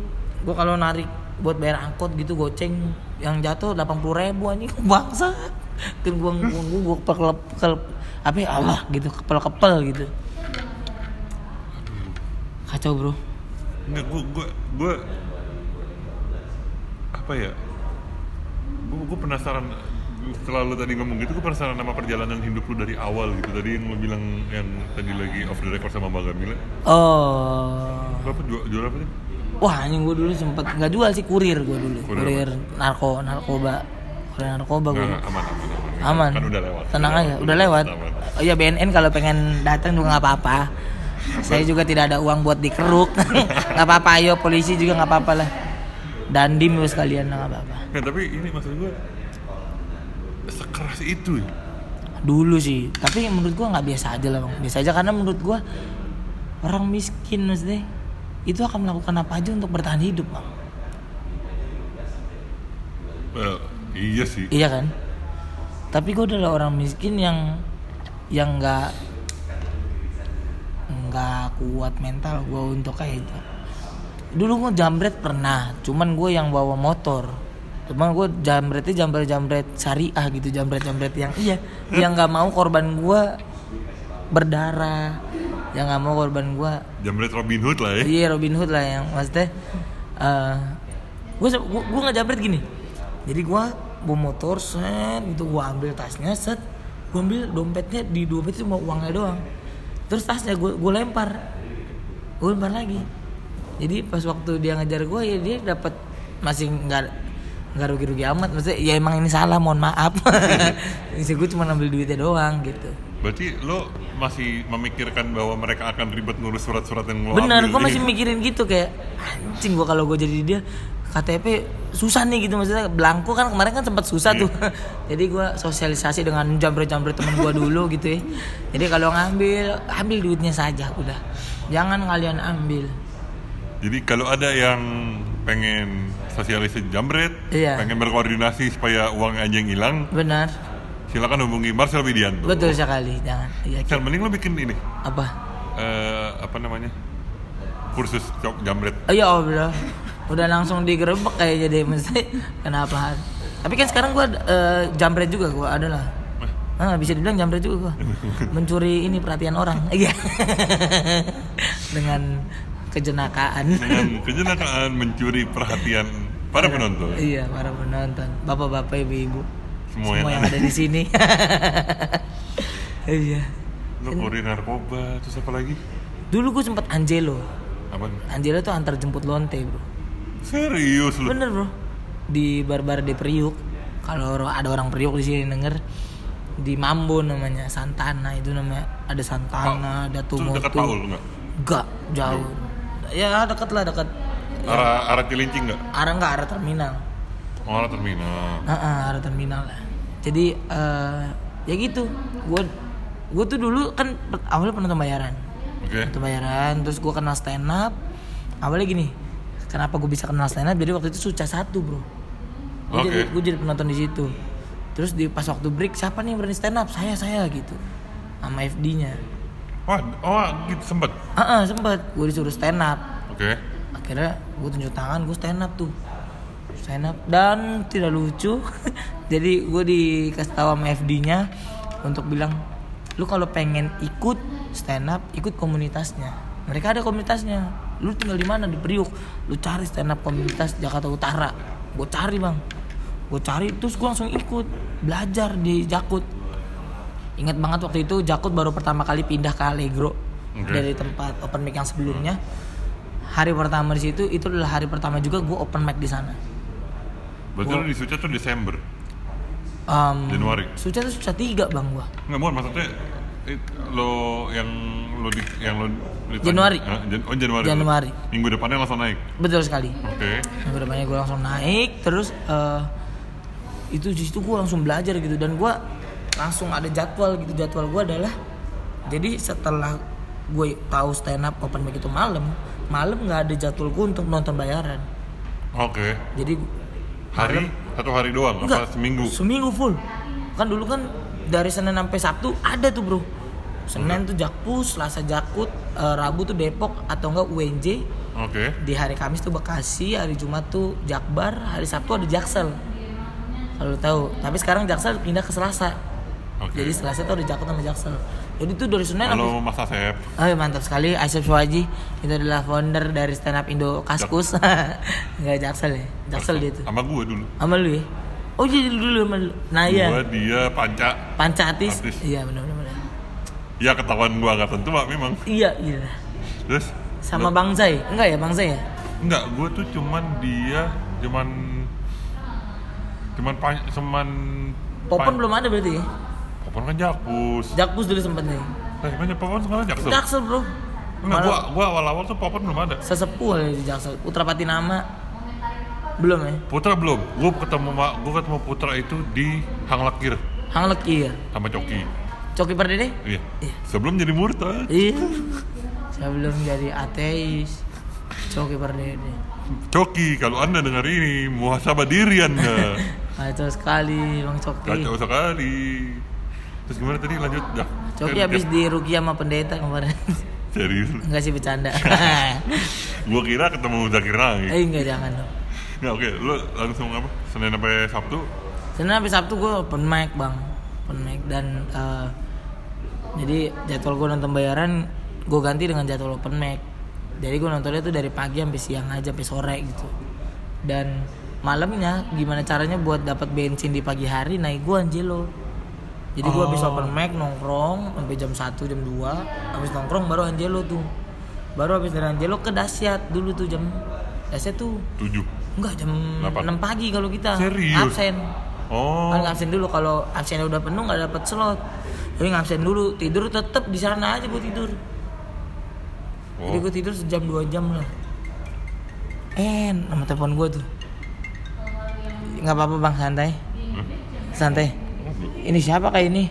B: gue kalau narik buat bayar angkot gitu goceng yang jatuh 80.000 ribu anjing (laughs) bangsa kan gue gue gue gue kepel kepel apa ya Allah gitu kepel kepel gitu kacau bro
A: Nggak, gue, gue, gue Apa ya? Gue, gue penasaran setelah lu tadi ngomong gitu, gue penasaran sama perjalanan hidup lu dari awal gitu Tadi yang lu bilang yang tadi lagi off the record sama Mbak Gamila
B: oh
A: Berapa? Jual, jual apa sih?
B: wah anjing gue dulu sempet nggak jual sih kurir gue dulu
A: Kurir apa? Nah,
B: kurir narko narkoba kurir narkoba gue
A: Nggak, nggak, aman, aman, aman
B: aman
A: Kan udah lewat
B: tenang aja udah lewat
A: Aman.
B: oh ya BNN kalau pengen datang juga nggak apa-apa saya juga tidak ada uang buat dikeruk (laughs) nggak apa-apa ayo polisi juga nggak apa-apa lah dandim lu sekalian nggak apa-apa
A: Nggak, tapi ini maksud gue Sekeras itu ya?
B: dulu sih tapi menurut gua nggak biasa aja lah bang biasa aja karena menurut gua orang miskin maksudnya itu akan melakukan apa aja untuk bertahan hidup bang
A: Eh, iya sih
B: Iya kan? Tapi gue adalah orang miskin yang yang nggak nggak kuat mental gue untuk kayak itu. Dulu gue jambret pernah, cuman gue yang bawa motor. Cuman gue jambretnya jambret-jambret syariah gitu, jambret-jambret yang iya, yang nggak mau korban gue berdarah, yang nggak mau korban gue
A: Jamret Robin Hood lah ya
B: Iya Robin Hood lah yang maksudnya eh, gue gue gue nggak jambret gini. Jadi gue bawa motor set gitu gue ambil tasnya set gue ambil dompetnya di dompet itu cuma uangnya doang. Terus tasnya gue gue lempar gue lempar lagi. Jadi pas waktu dia ngejar gue ya dia dapat masih nggak nggak rugi-rugi amat maksudnya ya emang ini salah mohon maaf (laughs) Maksudnya gue cuma ambil duitnya doang gitu
A: Berarti lo masih memikirkan bahwa mereka akan ribet ngurus surat-surat yang lo
B: Bener,
A: ambil
B: gue
A: ini?
B: masih mikirin gitu kayak anjing gue kalau gue jadi dia KTP susah nih gitu maksudnya belangko kan kemarin kan sempat susah
A: Iya.
B: tuh (laughs) jadi gua sosialisasi dengan jambret-jambret temen gua dulu gitu ya jadi kalau ngambil ambil duitnya saja udah jangan kalian ambil
A: Jadi kalau ada yang pengen sosialisasi jambret,
B: Iya.
A: pengen berkoordinasi supaya uang aja yang hilang,
B: benar
A: silakan hubungi Marcel Widianto.
B: betul sekali jangan Iya,
A: Marcel, mending lo bikin ini,
B: apa
A: eh, apa namanya, kursus jam- jambret.
B: oh, ya Allah udah langsung digerebek kayaknya deh mesti kenapa tapi kan sekarang gua eh, jambret juga gua adalah Ah, bisa dibilang jambret juga gua. Mencuri ini perhatian
A: (laughs)
B: orang. Iya. Dengan kejenakaan.
A: Dengan (laughs) kejenakaan mencuri perhatian para penonton.
B: Iya, para penonton, bapak-bapak, ibu-ibu,
A: Semua yang
B: yang ada di sini. (laughs) iya.
A: Lo kurir narkoba, terus apa lagi?
B: Dulu gue sempet Angelo.
A: Apa?
B: Angelo tuh antar jemput lonte, bro.
A: Serius lo?
B: Bener, bro. Di Barbar di Priuk. Kalau ro- ada orang Priuk di sini denger di Mambo namanya Santana itu namanya ada Santana, ada
A: Terus
B: Tumotu.
A: dekat Paul nggak?
B: Enggak, jauh. Ya dekat lah dekat.
A: Arah arah Cilincing nggak?
B: Arah enggak arah terminal.
A: Oh, arah terminal.
B: Heeh, ada terminal lah. Jadi eh ya gitu. Gue gue tuh dulu kan per- awalnya penonton bayaran,
A: Oke.
B: penonton bayaran. Terus gue kenal stand up. Awalnya gini, kenapa gue bisa kenal stand up? Jadi waktu itu suca satu bro. Gue
A: Oke.
B: jadi, gua jadi penonton di situ. Terus di pas waktu break siapa nih yang berani stand up? Saya saya gitu. Sama FD-nya.
A: Wah, oh gitu sempet.
B: Heeh, sempet gue disuruh stand up.
A: Oke.
B: akhirnya gue tunjuk tangan gue stand up tuh stand up dan tidak lucu (laughs) jadi gue dikasih tahu sama FD nya untuk bilang lu kalau pengen ikut stand up ikut komunitasnya mereka ada komunitasnya lu tinggal di mana di Priuk lu cari stand up komunitas Jakarta Utara gue cari bang gue cari terus gue langsung ikut belajar di Jakut Ingat banget waktu itu Jakut baru pertama kali pindah ke Allegro
A: Oke.
B: dari tempat open mic yang sebelumnya. Hari pertama di situ itu adalah hari pertama juga gue open mic di sana.
A: Berarti lo di Suca tuh Desember,
B: Um,
A: Januari.
B: Suca tuh Suca tiga bang gua.
A: Nggak mohon maksudnya it- lo yang lo di, yang lo ditanya-
B: Januari.
A: Eh, Jan- oh Januari.
B: Januari.
A: Minggu depannya langsung naik.
B: Betul sekali.
A: Oke.
B: Yang kedepannya gue langsung naik terus eh, itu di situ gue langsung belajar gitu dan gue langsung ada jadwal gitu jadwal gue adalah jadi setelah gue tahu stand up open mic itu malam malam nggak ada jadwal gue untuk nonton bayaran
A: Oke.
B: jadi
A: Hari satu hari doang apa
B: Enggak.
A: seminggu?
B: Seminggu full. Kan dulu kan dari Senin sampai Sabtu ada tuh, Bro. Senin tuh Jakpus, Selasa Jakut, eh, Rabu tuh Depok atau enggak UNJ.
A: Oke.
B: Di hari Kamis tuh Bekasi, hari Jumat tuh Jakbar, hari Sabtu ada Jaksel. Kalau lu tahu, tapi sekarang Jaksel pindah ke Selasa.
A: Oke.
B: Jadi Selasa tuh ada Jakut sama Jaksel. Jadi tuh dari Senin sampai
A: Halo Mas Asep.
B: Oh, mantap sekali Aisyah Suwaji itu adalah founder dari stand up Indo Kaskus. (laughs) Enggak Jaksel ya. Jaksel dia tuh.
A: Sama gue dulu.
B: Sama lu ya? Oh jadi lu dulu sama lu. Nah iya.
A: Gue dia panca.
B: Panca artis.
A: Artis.
B: Iya benar benar. benar.
A: Ya ketahuan gue angkatan tua memang.
B: Iya iya.
A: Terus
B: Sama Bang Zai. Enggak ya Bang Zai ya?
A: Enggak, gue tuh cuman dia cuman cuman pan, cuman
B: Popon
A: pan-
B: belum ada berarti ya?
A: Popon kan jakpus.
B: Jakpus dulu sempet nih.
A: Eh, gimana Popon sekarang jaksel?
B: Jaksel bro.
A: Enggak, Nah, gua
B: Malah
A: gua awal-awal tuh Popon belum ada.
B: sesepuh kali di Jaksel. Putra Patinama. Belum ya?
A: Putra belum. Gua ketemu ma- gua ketemu Putra itu di Hang Lakir
B: Hang Leki ya.
A: sama Coki.
B: Coki Pardede?
A: Iya. Sebelum jadi murtad.
B: Iya. Saya belum jadi ateis. Coki Pardede.
A: Coki, kalau Anda dengar ini, muhasabah diri
B: (laughs)
A: Anda.
B: Kacau Nah, sekali Bang Coki.
A: Kacau sekali. Terus gimana tadi lanjut dah.
B: Coki
A: Eh,
B: habis
A: dia-
B: dirugi sama pendeta kemarin. (laughs)
A: serius.
B: Enggak sih
A: (laughs)
B: bercanda.
A: Gua kira ketemu Zakir Naik.
B: eh enggak jangan dong.
A: Nah, oke, lu langsung apa? Senin sampai Sabtu?
B: Senin sampai Sabtu gue open mic bang, open mic dan eh, jadi jadwal gue nonton bayaran gue ganti dengan jadwal open mic. Jadi gue nontonnya tuh dari pagi sampai siang aja sampai sore gitu. Dan malamnya gimana caranya buat dapat bensin di pagi hari naik gue Angelo. Jadi gue habis open mic nongkrong sampai jam 1 jam 2 habis nongkrong baru Angelo tuh. Baru habis dari Angelo ke Dasyat dulu tuh jam Dasyat tuh
A: 7.
B: enggak jam
A: Delapan.
B: 6 pagi kalau kita
A: Serius?
B: absen.
A: Oh.
B: Kan absen dulu kalau absennya udah penuh nggak dapat slot. Jadi ngabsen dulu, tidur tetep di sana aja gue tidur. Jadi
A: oh.
B: gue tidur sejam dua jam lah. pen sama telepon gue tuh nggak apa-apa bang santai santai ini siapa kayak ini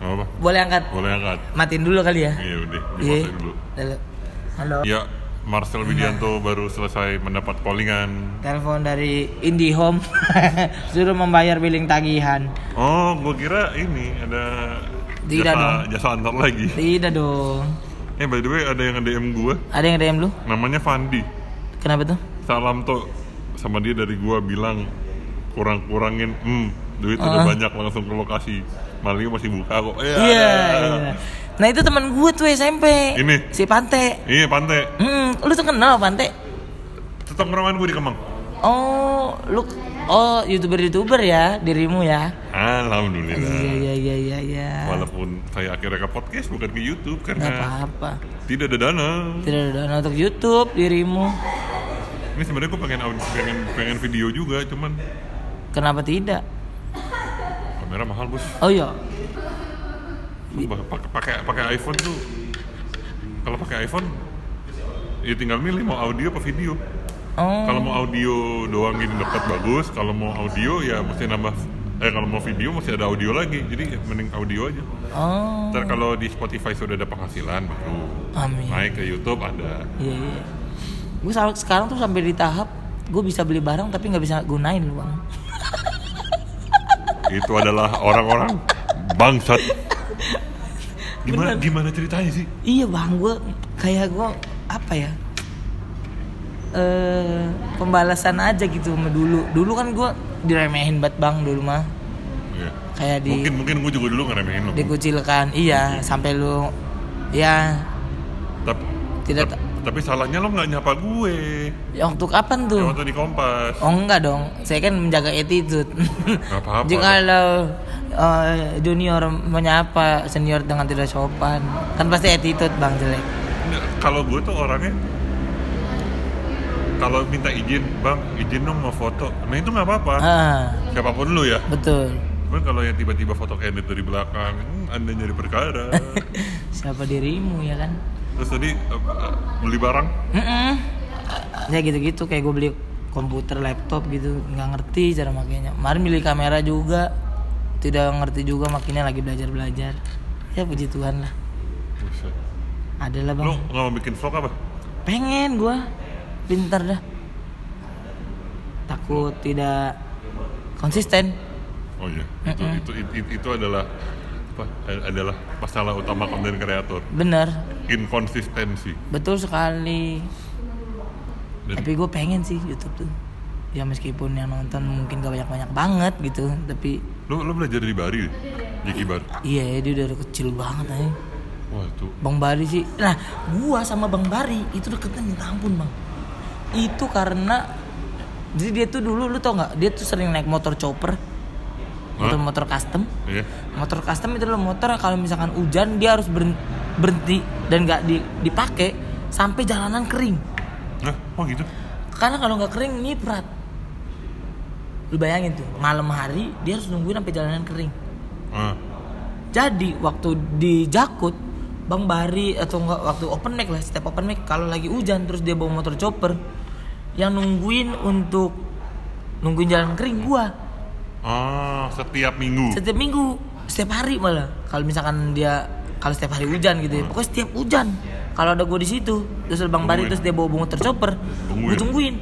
A: Gak apa
B: boleh angkat
A: boleh angkat
B: matiin dulu kali ya
A: iya udah
B: Iya.
A: dimatiin dulu
B: Halo. halo
A: ya Marcel Widianto baru selesai mendapat pollingan
B: telepon dari IndiHome (laughs) suruh membayar billing tagihan
A: oh gue kira ini ada
B: Tidak
A: jasa,
B: dong.
A: jasa antar lagi
B: tidak dong
A: eh by the way ada yang DM gue
B: ada yang DM lu
A: namanya Fandi
B: kenapa tuh
A: salam tuh sama dia dari gua bilang kurang-kurangin hmm duit udah banyak langsung ke lokasi Malio masih buka kok iya
B: iya iya. nah itu teman gue tuh SMP
A: Ini?
B: si Pante
A: iya pantai
B: Hmm, lu tuh kenal Pante
A: tetap ngerawain gua di Kemang
B: Oh, lu oh youtuber youtuber ya dirimu ya? Iya
A: alhamdulillah
B: iya iya iya. iya.
A: Hmm. walaupun kan. saya akhirnya ke podcast bukan ke YouTube
B: Gak
A: karena
B: apa-apa.
A: tidak ada dana
B: Tidak ada dana untuk YouTube dirimu.
A: ini sebenarnya gua pengen aud- pengen pengen video juga cuman
B: Kenapa tidak?
A: kamera mahal bos
B: Oh iya.
A: Sumpah, pak- pakai pakai iPhone tuh kalau pakai iPhone ya tinggal milih mau audio apa video
B: Oh.
A: Kalau mau audio doang ini dekat bagus, kalau mau audio ya mesti nambah eh kalau mau video mesti ada audio lagi. Jadi ya, mending audio aja.
B: Oh.
A: Ntar kalau di Spotify sudah ada penghasilan baru
B: Amin.
A: naik ke YouTube ada.
B: Iya iya. Gue sampai sekarang tuh sampai di tahap gue bisa beli barang tapi nggak bisa gunain lu bang.
A: Itu adalah orang-orang bangsat. Gimana gimana ceritanya sih?
B: Iya bang, gue kayak gue apa ya? Eh pembalasan aja gitu sama dulu. Dulu kan gue diremehin banget bang dulu mah.
A: Iya.
B: Kayak di
A: Mungkin mungkin gue juga dulu ngeremehin lo.
B: dikucilkan iya sampai lu ya
A: Tapi
B: tidak
A: tap- tapi salahnya lo nggak nyapa gue.
B: ya, untuk apa
A: Yang
B: tuh
A: waktu di Kompas.
B: oh enggak dong saya kan menjaga attitude (laughs)
A: apa-apa.
B: jika kalau eh, junior menyapa senior dengan tidak sopan kan pasti attitude bang jelek
A: Nggak, kalau gue tuh orangnya kalau minta izin bang izin dong mau foto nah itu nggak apa-apa
B: ah
A: siapapun lu ya
B: betul
A: cuman kalau yang tiba-tiba foto edit dari belakang hmm, anda nyari perkara
B: (laughs) siapa dirimu ya kan
A: terus tadi eh, eh, beli barang
B: Mm-mm. ya gitu-gitu kayak gue beli komputer laptop gitu nggak ngerti cara makainya kemarin milih kamera juga tidak ngerti juga makinnya lagi belajar belajar ya puji Tuhan lah
A: Buset.
B: adalah bang
A: lu nggak mau bikin vlog apa
B: pengen gue pinter dah takut tidak konsisten
A: oh iya itu itu, itu itu- itu adalah apa eh, adalah masalah utama konten kreator
B: bener
A: inkonsistensi
B: betul sekali
A: Dan-
B: tapi gue pengen sih YouTube tuh ya meskipun yang nonton mungkin gak banyak banyak banget gitu tapi
A: lu lu belajar dari Bari deh. Jeki Bari
B: iya ya, dia dari kecil banget aja
A: wah itu
B: Bang Bari sih. Nah, gua sama Bang Bari itu deketnya minta ampun, Bang. Itu karena jadi dia tuh dulu lu tau nggak, dia tuh sering naik motor chopper. Motor-motor custom.
A: ya
B: Motor custom itu adalah motor kalau misalkan hujan dia harus beren- berhenti dan nggak di- dipakai sampai jalanan kering.
A: nah oh gitu
B: Karena kalau nggak kering nyiprat. Lu bayangin tuh, malam hari dia harus nungguin sampai jalanan kering.
A: ah.
B: Jadi waktu di Jakut, Bang Bari atau enggak waktu open mic lah, setiap open mic kalau lagi hujan terus dia bawa motor chopper yang nungguin untuk nungguin jalan kering gua
A: ah setiap minggu
B: setiap minggu setiap hari malah kalau misalkan dia kalau setiap hari hujan gitu ya pokoknya setiap hujan kalau ada gue di situ terus bang Bari terus dia bawa motor chopper gue
A: Tungguin.
B: tungguin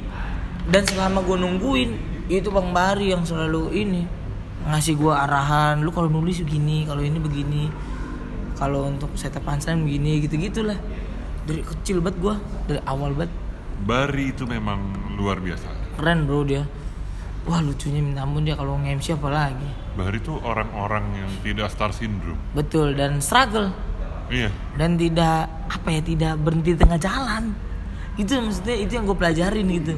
B: dan selama gue nungguin itu bang Bari yang selalu ini ngasih gue arahan lu kalau nulis begini kalau ini begini kalau untuk setup punchline begini gitu gitulah dari kecil banget gue dari awal banget
A: Bari itu memang luar biasa.
B: keren bro dia wah lucunya minta ampun dia kalau nge-MC apa lagi
A: Bari itu orang-orang yang tidak star syndrome.
B: betul dan struggle
A: Iya.
B: dan tidak apa ya tidak berhenti di tengah jalan itu maksudnya itu yang gue pelajarin gitu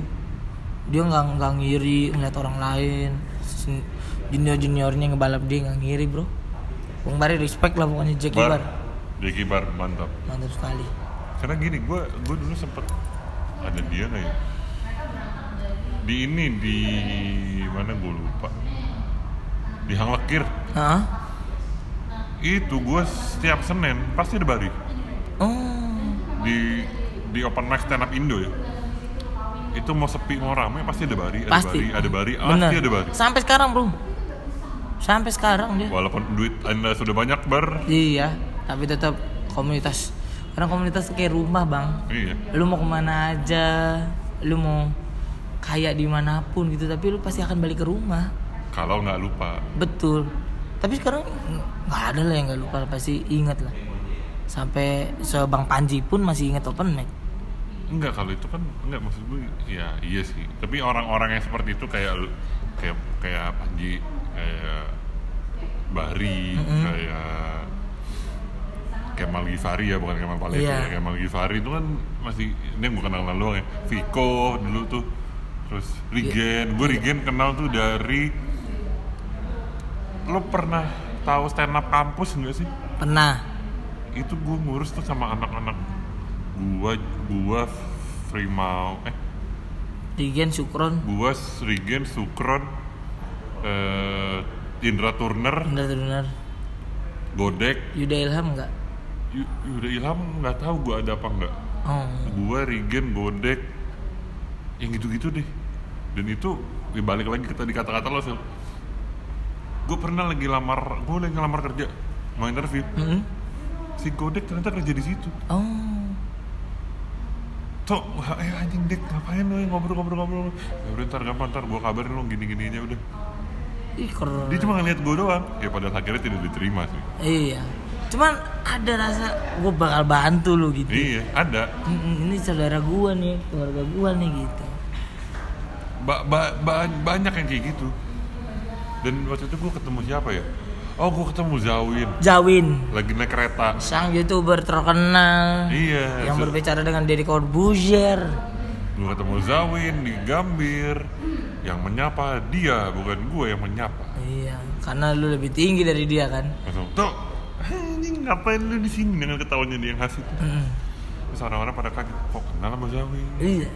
B: dia nggak nggak ngiri ngeliat orang lain junior juniornya ngebalap dia nggak ngiri bro Bang Bari respect lah pokoknya Jack
A: Bar.
B: Bar
A: Ricky Bar mantap.
B: mantap sekali
A: Karena gini, gue gue dulu sempet ada dia nggak ya? Di ini di mana gue lupa. Di Hang Lekir.
B: Hah?
A: Itu gue setiap Senin pasti ada Bari
B: oh
A: di di open mic stand up Indo ya. itu mau sepi mau rame pasti ada bari, ada
B: Pasti.
A: bari, ada bari,
B: Bener.
A: pasti ada bari.
B: Sampai sekarang bro. Sampai sekarang dia.
A: Walaupun duit anda sudah banyak bar,
B: Iya. Tapi tetap komunitas. Karena komunitas tuh kayak rumah bang.
A: iya.
B: Lu mau kemana aja, lu mau kaya dimanapun gitu. Tapi lu pasti akan balik ke rumah.
A: Kalau nggak lupa,
B: Betul. Tapi sekarang nggak ada lah yang nggak lupa pasti ingat lah. Sampai sebang Panji pun masih ingat open mic.
A: Enggak kalau itu kan enggak maksud gue ya iya sih. Tapi orang-orang yang seperti itu kayak lu- kayak kayak Panji, kayak Bari, kayak Kemal Gifari ya bukan Kemal Palevi
B: Iya.
A: ya. Kemal Gifari itu kan masih ini yang gue kenal kenal doang ya. Viko dulu tuh terus Rigen, gue Rigen kenal tuh dari lo pernah tahu stand up kampus enggak sih?
B: Pernah.
A: itu gue ngurus tuh sama anak-anak gua gua Frimau eh
B: Rigen Sukron.
A: gua Srigen Sukron eh, Indra Turner
B: Bener bener.
A: Godek
B: Yuda Ilham nggak?
A: Y- Yuda Ilham nggak tahu gua ada apa nggak
B: Oh.
A: gua Rigen Godek yang gitu-gitu deh dan itu ya balik lagi ke tadi kata-kata lo Phil gue pernah lagi lamar gue lagi ngelamar kerja mau interview
B: Mm-mm.
A: si Godek ternyata kerja di situ
B: Hmm? Oh.
A: Tok, wah, eh anjing dek ngapain lu ngobrol-ngobrol-ngobrol Ya udah ntar gampang ntar gue kabarin lu gini-gininya udah
B: Ih keren.
A: Dia cuma ngeliat gue doang Ya padahal akhirnya tidak diterima sih
B: Iya. Cuman ada rasa gue bakal bantu lu gitu.
A: Iya, ada
B: Mm-mm, Ini saudara gua nih, keluarga gua nih gitu.
A: ba ba- ba- Banyak yang kayak gitu Dan waktu itu gue ketemu siapa ya? Oh gue ketemu Zawin
B: Jawin,
A: Lagi naik kereta
B: sang youtuber terkenal
A: Iya
B: yang berbicara dengan Deddy Corbuzier.
A: Gue ketemu Zawin di Gambir Yang menyapa dia, bukan gue yang menyapa
B: Iya, karena lu lebih tinggi dari dia kan.
A: Langsung, Tok, anjing ngapain lu di sini dengan ketawanya dia yang khas itu
B: Mm.
A: Terus orang-orang pada kaget, kok kenal sama Zawin?
B: Iya.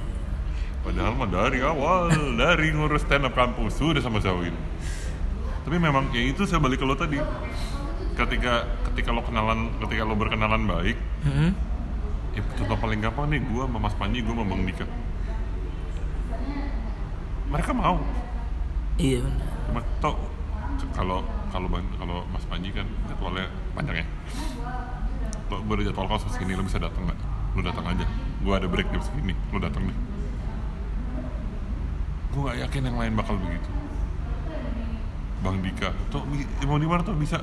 A: Padahal mah dari awal, dari ngurus stand up kampus sudah sama Zawin. Tapi memang ya itu saya balik ke lo tadi. Ketika ketika lo kenalan, ketika lo berkenalan baik,
B: Mm.
A: ya contoh paling gampang nih gue sama Mas Panji, gue sama Bang Dika. Mereka mau,
B: Iya benar.
A: cuma tau c- kalau kalau Bang- kalau Mas Panji kan jadwalnya panjang ya. Lo gue ada jadwal kos segini, lo bisa datang nggak? Lo datang aja. Gue ada break jam segini, lo datang deh. Gue nggak yakin yang lain bakal begitu. Bang Dika, tuh bi- eh, mau di mana tuh bisa?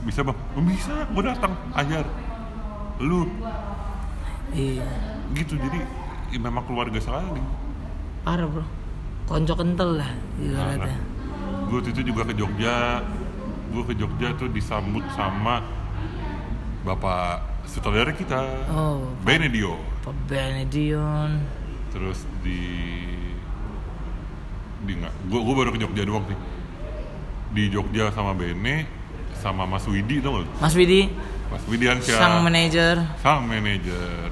A: Bisa bang? "Oh, Bisa, gue datang, ajar. Lu
B: Iya.
A: gitu jadi ya memang keluarga sekali.
B: Parah bro. Konco kental lah ibaratnya.
A: Gue waktu itu juga ke Jogja, gue ke Jogja tuh disambut sama bapak sutradara kita,
B: Oh,
A: Benedio.
B: Pak Benedion.
A: Terus di di nggak, gue gue baru ke Jogja doang sih. Di Jogja sama Bene, sama Mas Widi tau gak? lu?
B: Mas Widi,
A: Mas Widiansyah,
B: sang manajer.
A: sang manajer,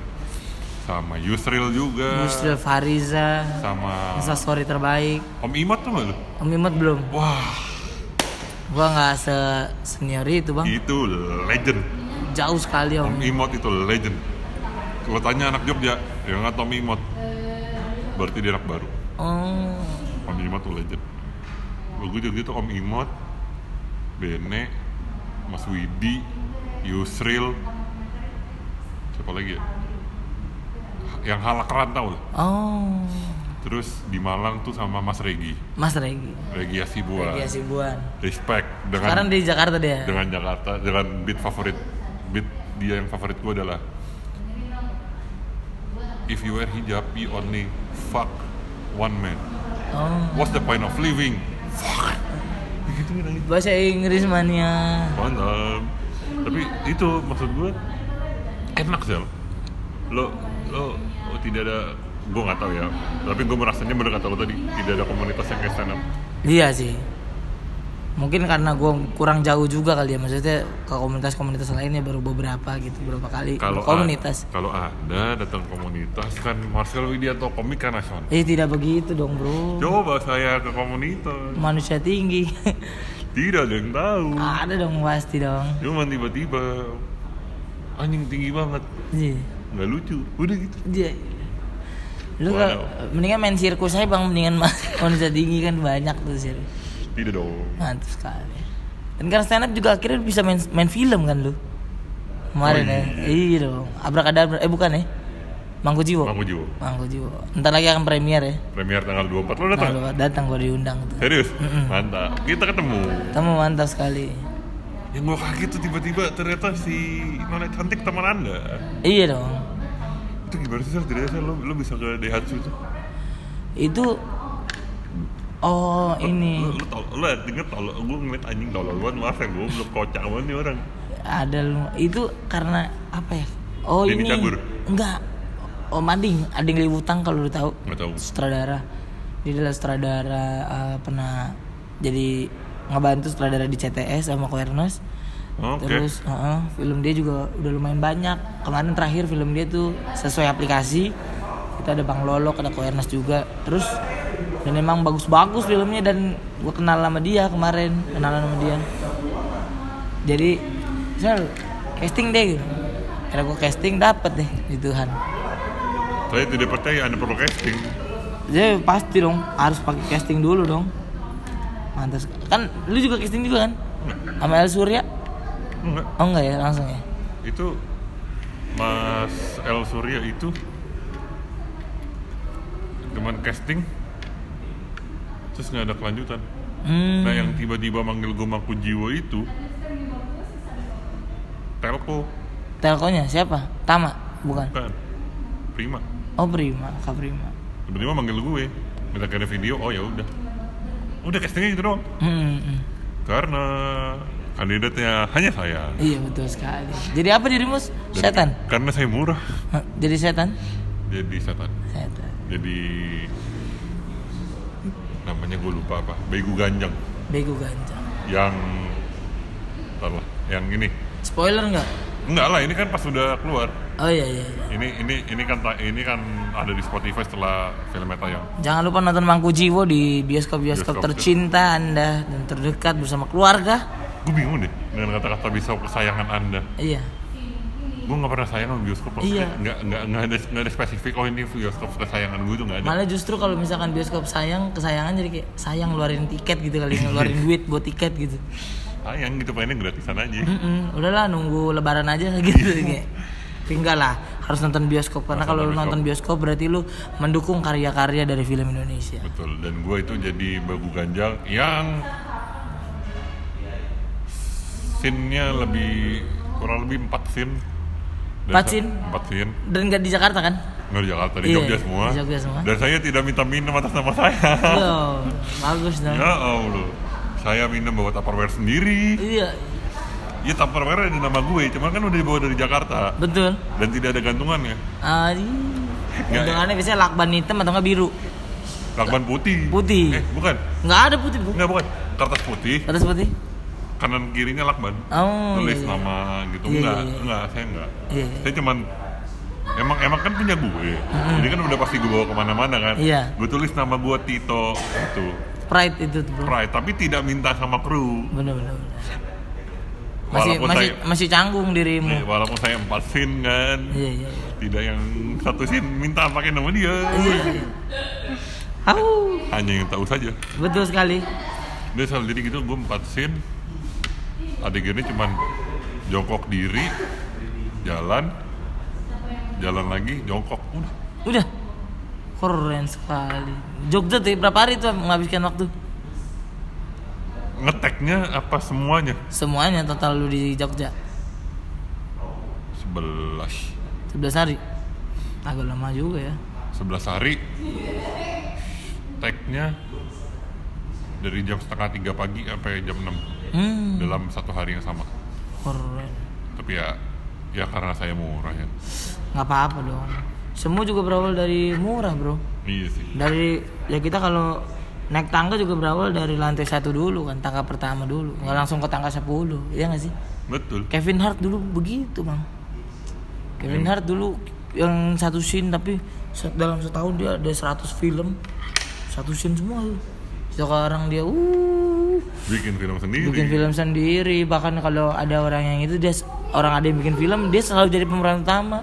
A: sama Yusril juga,
B: Yusril Fariza
A: sama
B: Insta story terbaik
A: Om Imot tuh lu?
B: Om Imut belum
A: Wah,
B: Gua nggak se senior itu bang
A: itu legend.
B: Jauh sekali
A: Tom
B: Iya. Om
A: Imot itu legend. Kalau tanya anak Jogja, yang nggak Tom Imot, berarti dia anak baru.
B: Oh
A: Om Imot tuh legend. Gue Jogja tuh gitu, Om Imot, Bene, Mas Widi, Yusril, siapa lagi ya? Yang halakran tau lah.
B: Oh
A: Terus di Malang tuh sama Mas Regi,
B: Mas Regi
A: Regi Asibuan.
B: Regi Asibuan
A: Respect dengan
B: Sekarang di Jakarta dia
A: dengan Jakarta dengan beat favorit beat dia yang favorit gue adalah if you wear hijab you only fuck one man
B: Oh
A: what's the point of living fuck gitu gitu
B: Bahasa Inggris mania
A: mantap tapi itu maksud gue enak sih lo lo lo tidak ada gue nggak tahu ya tapi gue merasanya bener kata lo tadi tidak ada komunitas yang kayak stand up
B: Iya sih Mungkin karena gua kurang jauh juga kali ya Maksudnya ke komunitas-komunitas lainnya baru beberapa gitu Berapa kali
A: kalau a-
B: komunitas
A: kalau anda datang komunitas kan Marcel Widianto komika nasional
B: Eh tidak begitu dong bro
A: Coba saya ke komunitas,
B: Manusia
A: (laughs)
B: tinggi
A: tidak ada yang tahu.
B: Ada dong pasti dong
A: Cuman tiba-tiba anjing tinggi banget,
B: Iya
A: nggak lucu, udah gitu.
B: Iya. Lu
A: Waduh.
B: kalau- mendingan main sirkus aja bang, mendingan (laughs) ma- manusia tinggi kan banyak tuh sirkus.
A: Tidak dong.
B: Mantap sekali. Dan karena stand up juga akhirnya bisa main, main film kan lu. Kemarin
A: Oh,
B: ya. Iya dong. Abrakadabra. Eh bukan ya. Mangku Jiwo.
A: Bang Ujo.
B: Mangku Jiwo. Ntar lagi akan premier ya.
A: Premier tanggal 24 lo datang?
B: Nah, lu datang gua diundang tuh.
A: Serius? Mantap. Kita ketemu.
B: Kamu mantap sekali.
A: Yang gua kaget tuh tiba-tiba ternyata si Nona cantik teman Anda.
B: Iya dong.
A: Itu gimana sih Sel? Tidak Sel, lo, lo bisa ke Daihatsu tuh?
B: Itu Oh
A: Lo,
B: ini
A: lo, tol- lo denger tolol, gue ngeliat anjing tolol banget, maaf ya gue belum kocak banget nih orang
B: ada lu itu karena apa ya? Oh
A: Denny
B: ini
A: Cagur.
B: enggak. Oh Mading, Ading Liwutang kalau lu tahu.
A: Gak tau
B: sutradara dia adalah sutradara eh, pernah jadi ngebantu sutradara di CTS sama Koernas
A: Oke,
B: terus heeh, film dia juga udah lumayan banyak kemarin terakhir film dia tuh sesuai aplikasi kita ada Bang Lolo ada Koernas juga terus dan emang bagus-bagus filmnya dan gue kenal sama dia kemarin kenalan sama dia jadi sel casting deh gitu karena gue casting dapet deh gitu, di Tuhan
A: saya tidak percaya anda perlu casting
B: jadi pasti dong harus pakai casting dulu dong. Mantas kan lu juga casting juga kan? Sama El Surya?
A: Enggak,
B: Oh enggak ya langsung ya.
A: itu Mas El Surya itu cuman casting terus nggak ada kelanjutan
B: Hmm.
A: nah yang tiba-tiba manggil gue Mangku Jiwo itu Telco
B: Telkonya siapa? Tama bukan?
A: bukan Prima
B: Oh Prima, Kak Prima.
A: tiba-tiba manggil gue minta kirim video oh ya udah udah castingnya gitu doang
B: Hmm, hmm.
A: karena kandidatnya hanya saya
B: Iya betul sekali. Jadi apa dirimu?
A: Dan
B: Setan.
A: karena saya murah
B: Hah, Jadi setan?
A: jadi setan
B: Setan.
A: jadi namanya gue lupa apa begu ganjang
B: Bego ganjang.
A: yang Ntar lah, yang ini
B: Spoiler enggak?
A: enggak lah ini kan pas sudah keluar
B: Oh iya iya. iya.
A: ini ini ini kan ta- ini kan ada di Spotify setelah filmnya tayang
B: Jangan lupa nonton Mangku Jiwo di bioskop-bioskop
A: Bioskop.
B: tercinta Anda dan terdekat bersama keluarga.
A: gue bingung deh dengan kata-kata bisa kesayangan anda
B: Iya.
A: gue nggak pernah sayang sama bioskop
B: Iya.
A: maksudnya nggak nggak nggak ada nggak ada spesifik oh ini bioskop kesayangan gue itu nggak ada
B: Malah justru kalau misalkan bioskop sayang, kesayangan jadi kayak sayang ngeluarin tiket gitu kali, ngeluarin
A: (laughs)
B: duit buat tiket gitu.
A: sayang gitu pengennya gratisan aja
B: Mm-mm, udahlah nunggu lebaran aja (laughs) gitu kayak. Tapi enggak lah, harus nonton bioskop karena
A: Iya. Harus
B: kalau lu
A: nonton
B: nonton bioskop berarti lu mendukung karya-karya dari film Indonesia.
A: Betul, dan gue itu jadi bagu ganjang yang scene-nya lebih kurang lebih 4 scene. Dan
B: Empat
A: sa-
B: scene?
A: empat scene.
B: Dan enggak di Jakarta
A: (laughs)
B: kan?
A: Nggak di Jakarta, di
B: Iya,
A: Jogja semua.
B: di Jogja semua.
A: Dan saya tidak minta minum atas nama saya. (laughs)
B: Loh, bagus dong.
A: ya Allah. Saya minum bawa Tupperware sendiri.
B: Iya,
A: Ya Tupperware ada nama gue, cuman kan udah dibawa dari Jakarta.
B: betul.
A: Dan tidak ada ya. gantungannya.
B: Ah, iya.
A: Nggak, ya.
B: Untungannya biasanya lakban hitam atau enggak biru.
A: Lakban putih.
B: Putih.
A: Eh, bukan.
B: Enggak ada putih, Bu.
A: Enggak, bukan. Kertas putih,
B: Ada putih.
A: kanan kirinya lakban.
B: Oh,
A: tulis
B: iya.
A: nama gitu
B: Iya,
A: enggak
B: iya, iya.
A: enggak saya enggak
B: Iya, iya.
A: saya cuman emang emang kan punya gue jadi kan udah pasti gue bawa kemana-mana kan
B: Iya.
A: gue tulis nama gue Tito itu
B: Pride itu, tuh, Bro.
A: Pride tapi tidak minta sama kru
B: Bener-bener. Masih
A: Walaupun
B: masih
A: saya-
B: masih canggung
A: Eh,
B: dirimu.
A: walaupun saya empat sin kan
B: Iya iya. iya.
A: tidak yang satu sin minta pakai nama dia
B: iya. Au,
A: hanya yang tahu saja
B: betul sekali.
A: dia selalu jadi gitu gue empat sin adegannya cuman jongkok diri jalan jalan lagi jongkok udah
B: Udah. Keren sekali. Jogja tuh berapa hari tuh menghabiskan waktu?
A: ngeteknya apa semuanya
B: Semuanya total lu di Jogja.
A: 11
B: 11 hari. Agak lama juga ya.
A: 11 hari tagnya dari jam setengah tiga pagi sampai jam 6
B: Hmm,
A: dalam satu hari yang sama
B: keren.
A: tapi ya ya karena saya murah ya
B: Nggak apa-apa dong. Semua juga berawal dari murah, Bro.
A: iya sih
B: Dari ya kita kalau naik tangga juga berawal dari lantai satu dulu kan, tangga pertama dulu. Nggak langsung ke tangga 10. Iya nggak sih?
A: betul
B: Kevin Hart dulu begitu bang Kevin
A: Iya.
B: Hart dulu yang satu scene tapi se- dalam setahun dia ada 100 film satu scene semua tuh sekarang dia uh
A: bikin film sendiri
B: bikin film sendiri bahkan kalau ada orang yang itu dia s- orang ada yang bikin film dia selalu jadi pemeran utama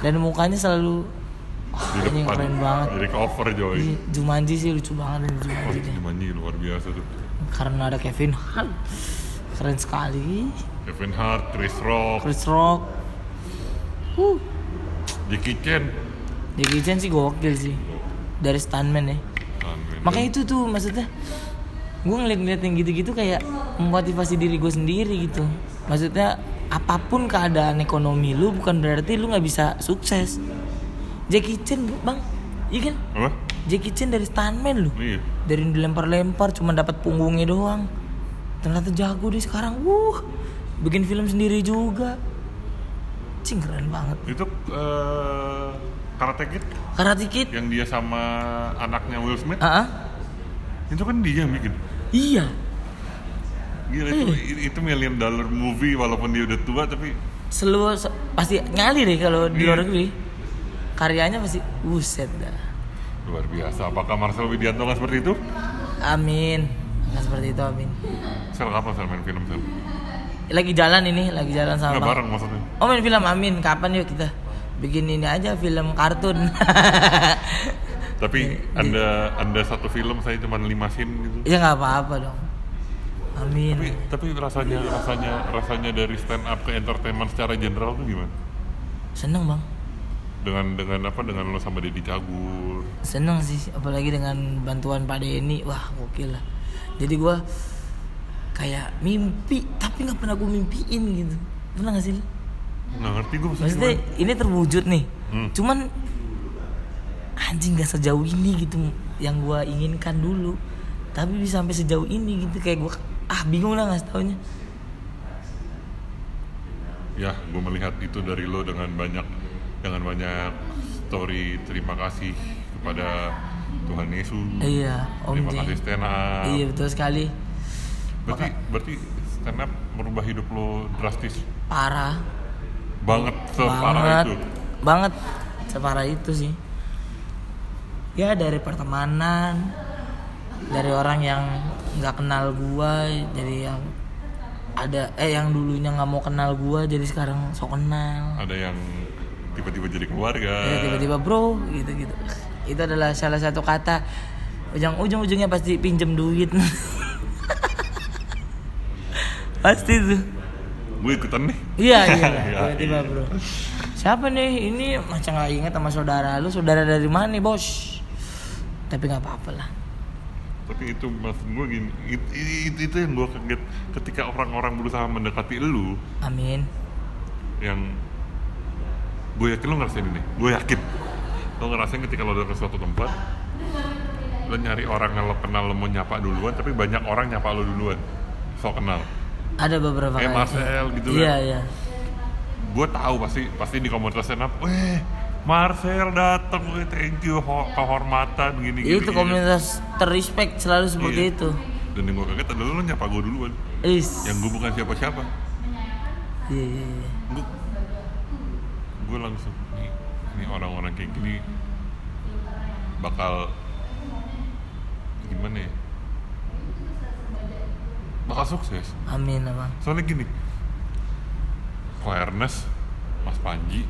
B: dan mukanya selalu
A: di depan
B: Anjing, keren banget.
A: jadi cover joy
B: Iya, Jumanji sih lucu banget ini
A: oh,
B: Jumanji deh.
A: Jumanji luar biasa tuh
B: Karena ada Kevin Hart. Keren sekali.
A: Kevin Hart Chris Rock
B: Chris Rock. Uh. Huh.
A: Jackie Chan
B: Jackie Chan sih gokil sih. Dari stuntman ya.
A: Amin.
B: Makanya itu tuh maksudnya gue ngeliat-ngeliat yang gitu-gitu kayak memotivasi diri gue sendiri gitu. Maksudnya apapun keadaan ekonomi lu bukan berarti lu nggak bisa sukses. Jackie Chan bang, iya kan?
A: apa
B: Jackie Chan dari stuntman lu.
A: iya
B: dari dilempar-lempar cuma dapat punggungnya doang ternyata jago deh sekarang wuh bikin film sendiri juga cing keren banget
A: itu eh, Karate Kid
B: karena dikit
A: yang dia sama anaknya Will Smith
B: ah ah.
A: itu kan dia yang bikin
B: iya
A: gila
B: Hmm.
A: itu itu million dollar movie walaupun dia udah tua tapi
B: selalu se- pasti nyali deh kalau
A: Iya.
B: di luar negeri karyanya pasti buset dah
A: luar biasa apakah Marcel Widianto nggak seperti itu
B: amin Nah, seperti itu amin
A: Sel kapan Sel main film Sel?
B: lagi jalan ini lagi jalan sama
A: Nggak
B: Bang.
A: bareng maksudnya
B: oh main film amin kapan yuk kita bikin ini aja film kartun (laughs) Iya,
A: Tapi anda anda satu film saya cuma lima scene gitu
B: ya nggak apa-apa dong amin
A: tapi tapi rasanya rasanya rasanya dari stand up ke entertainment secara general tuh gimana
B: seneng bang
A: dengan dengan apa dengan lo sama Deddy Cagur
B: seneng sih apalagi dengan bantuan Pak Denny wah gokil lah jadi gua kayak mimpi tapi nggak pernah gue mimpiin gitu pernah gak sih lu?
A: nggak ngerti gue maksudnya
B: maksudnya
A: gimana.
B: ini terwujud nih
A: Hmm.
B: cuman anjing gak sejauh ini gitu yang gua inginkan dulu tapi bisa sampai sejauh ini gitu kayak gua ah bingung lah nggak taunya
A: ya gue melihat itu dari lo dengan banyak dengan banyak story terima kasih kepada Tuhan Yesus
B: iya om
A: terima
B: Jeng.
A: kasih stand up
B: iya betul sekali
A: berarti berarti stand up merubah hidup lo drastis
B: parah
A: banget separah
B: banget
A: itu
B: banget separah itu sih ya dari pertemanan dari orang yang nggak kenal gua dari yang ada eh yang dulunya nggak mau kenal gua jadi sekarang sok kenal
A: ada yang tiba-tiba jadi keluarga
B: ya tiba-tiba bro gitu gitu itu adalah salah satu kata ujung ujung ujungnya pasti pinjem duit (laughs) pasti tuh
A: gue ikutan nih
B: Iya,
A: (laughs)
B: iya.
A: Ya,
B: Tiba-tiba,
A: iya.
B: Bro. Siapa nih? Ini macam nggak inget sama saudara lu. Saudara dari mana nih, Bos? Tapi nggak apa-apa lah.
A: tapi itu maksud gue gini it- i- itu, itu yang gue kaget ketika orang-orang berusaha mendekati lu
B: Amin.
A: yang gue yakin lo ngerasain ini gue yakin lo ngerasain ketika lo datang ke suatu tempat lo nyari orang yang lo kenal lo mau nyapa duluan tapi banyak orang nyapa lo duluan so kenal
B: Ada
A: Eh,
B: beberapa kali.
A: Marcel gitu
B: Iya,
A: kan.
B: iya.
A: gue tahu pasti pasti di komunitas stand up weh Marcel datang weh thank you ho- kehormatan gini gini
B: iya. Itu komunitas terrespect selalu seperti
A: Iya.
B: itu.
A: dan yang gue kaget adalah lo nyapa gue duluan
B: Is.
A: yang gue bukan siapa-siapa
B: Iya, iya, iya.
A: gue gue langsung nih ini orang-orang kayak gini bakal gimana ya bakal sukses
B: Amin, Abang.
A: soalnya gini Ko Ernest Mas Panji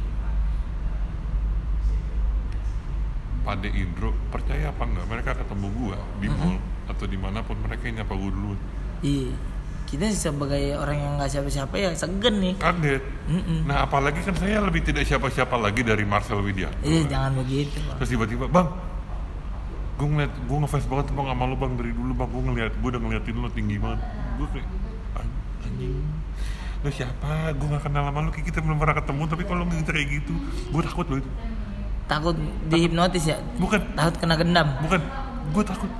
A: Pade Indro percaya apa enggak mereka ketemu gua di mall atau dimanapun mereka yang nyapa gua duluan
B: Iya. Kita sebagai orang yang nggak siapa-siapa ya segen nih.
A: kaget nah apalagi kan saya lebih tidak siapa-siapa lagi dari Marcel Widya
B: Iya, jangan begitu, Bang.
A: terus tiba-tiba bang gue ngeliat gue ngefans banget bang sama lo bang dari dulu bang gue ngeliat gue udah ngeliatin lo tinggi banget gue kayak "An- anjing lo siapa gue gak kenal sama lo kayak kita belum pernah ketemu tapi kalau lo kayak gitu gue takut lo itu
B: Takut dihipnotis ya?
A: bukan
B: Takut kena gendam.
A: bukan gue takut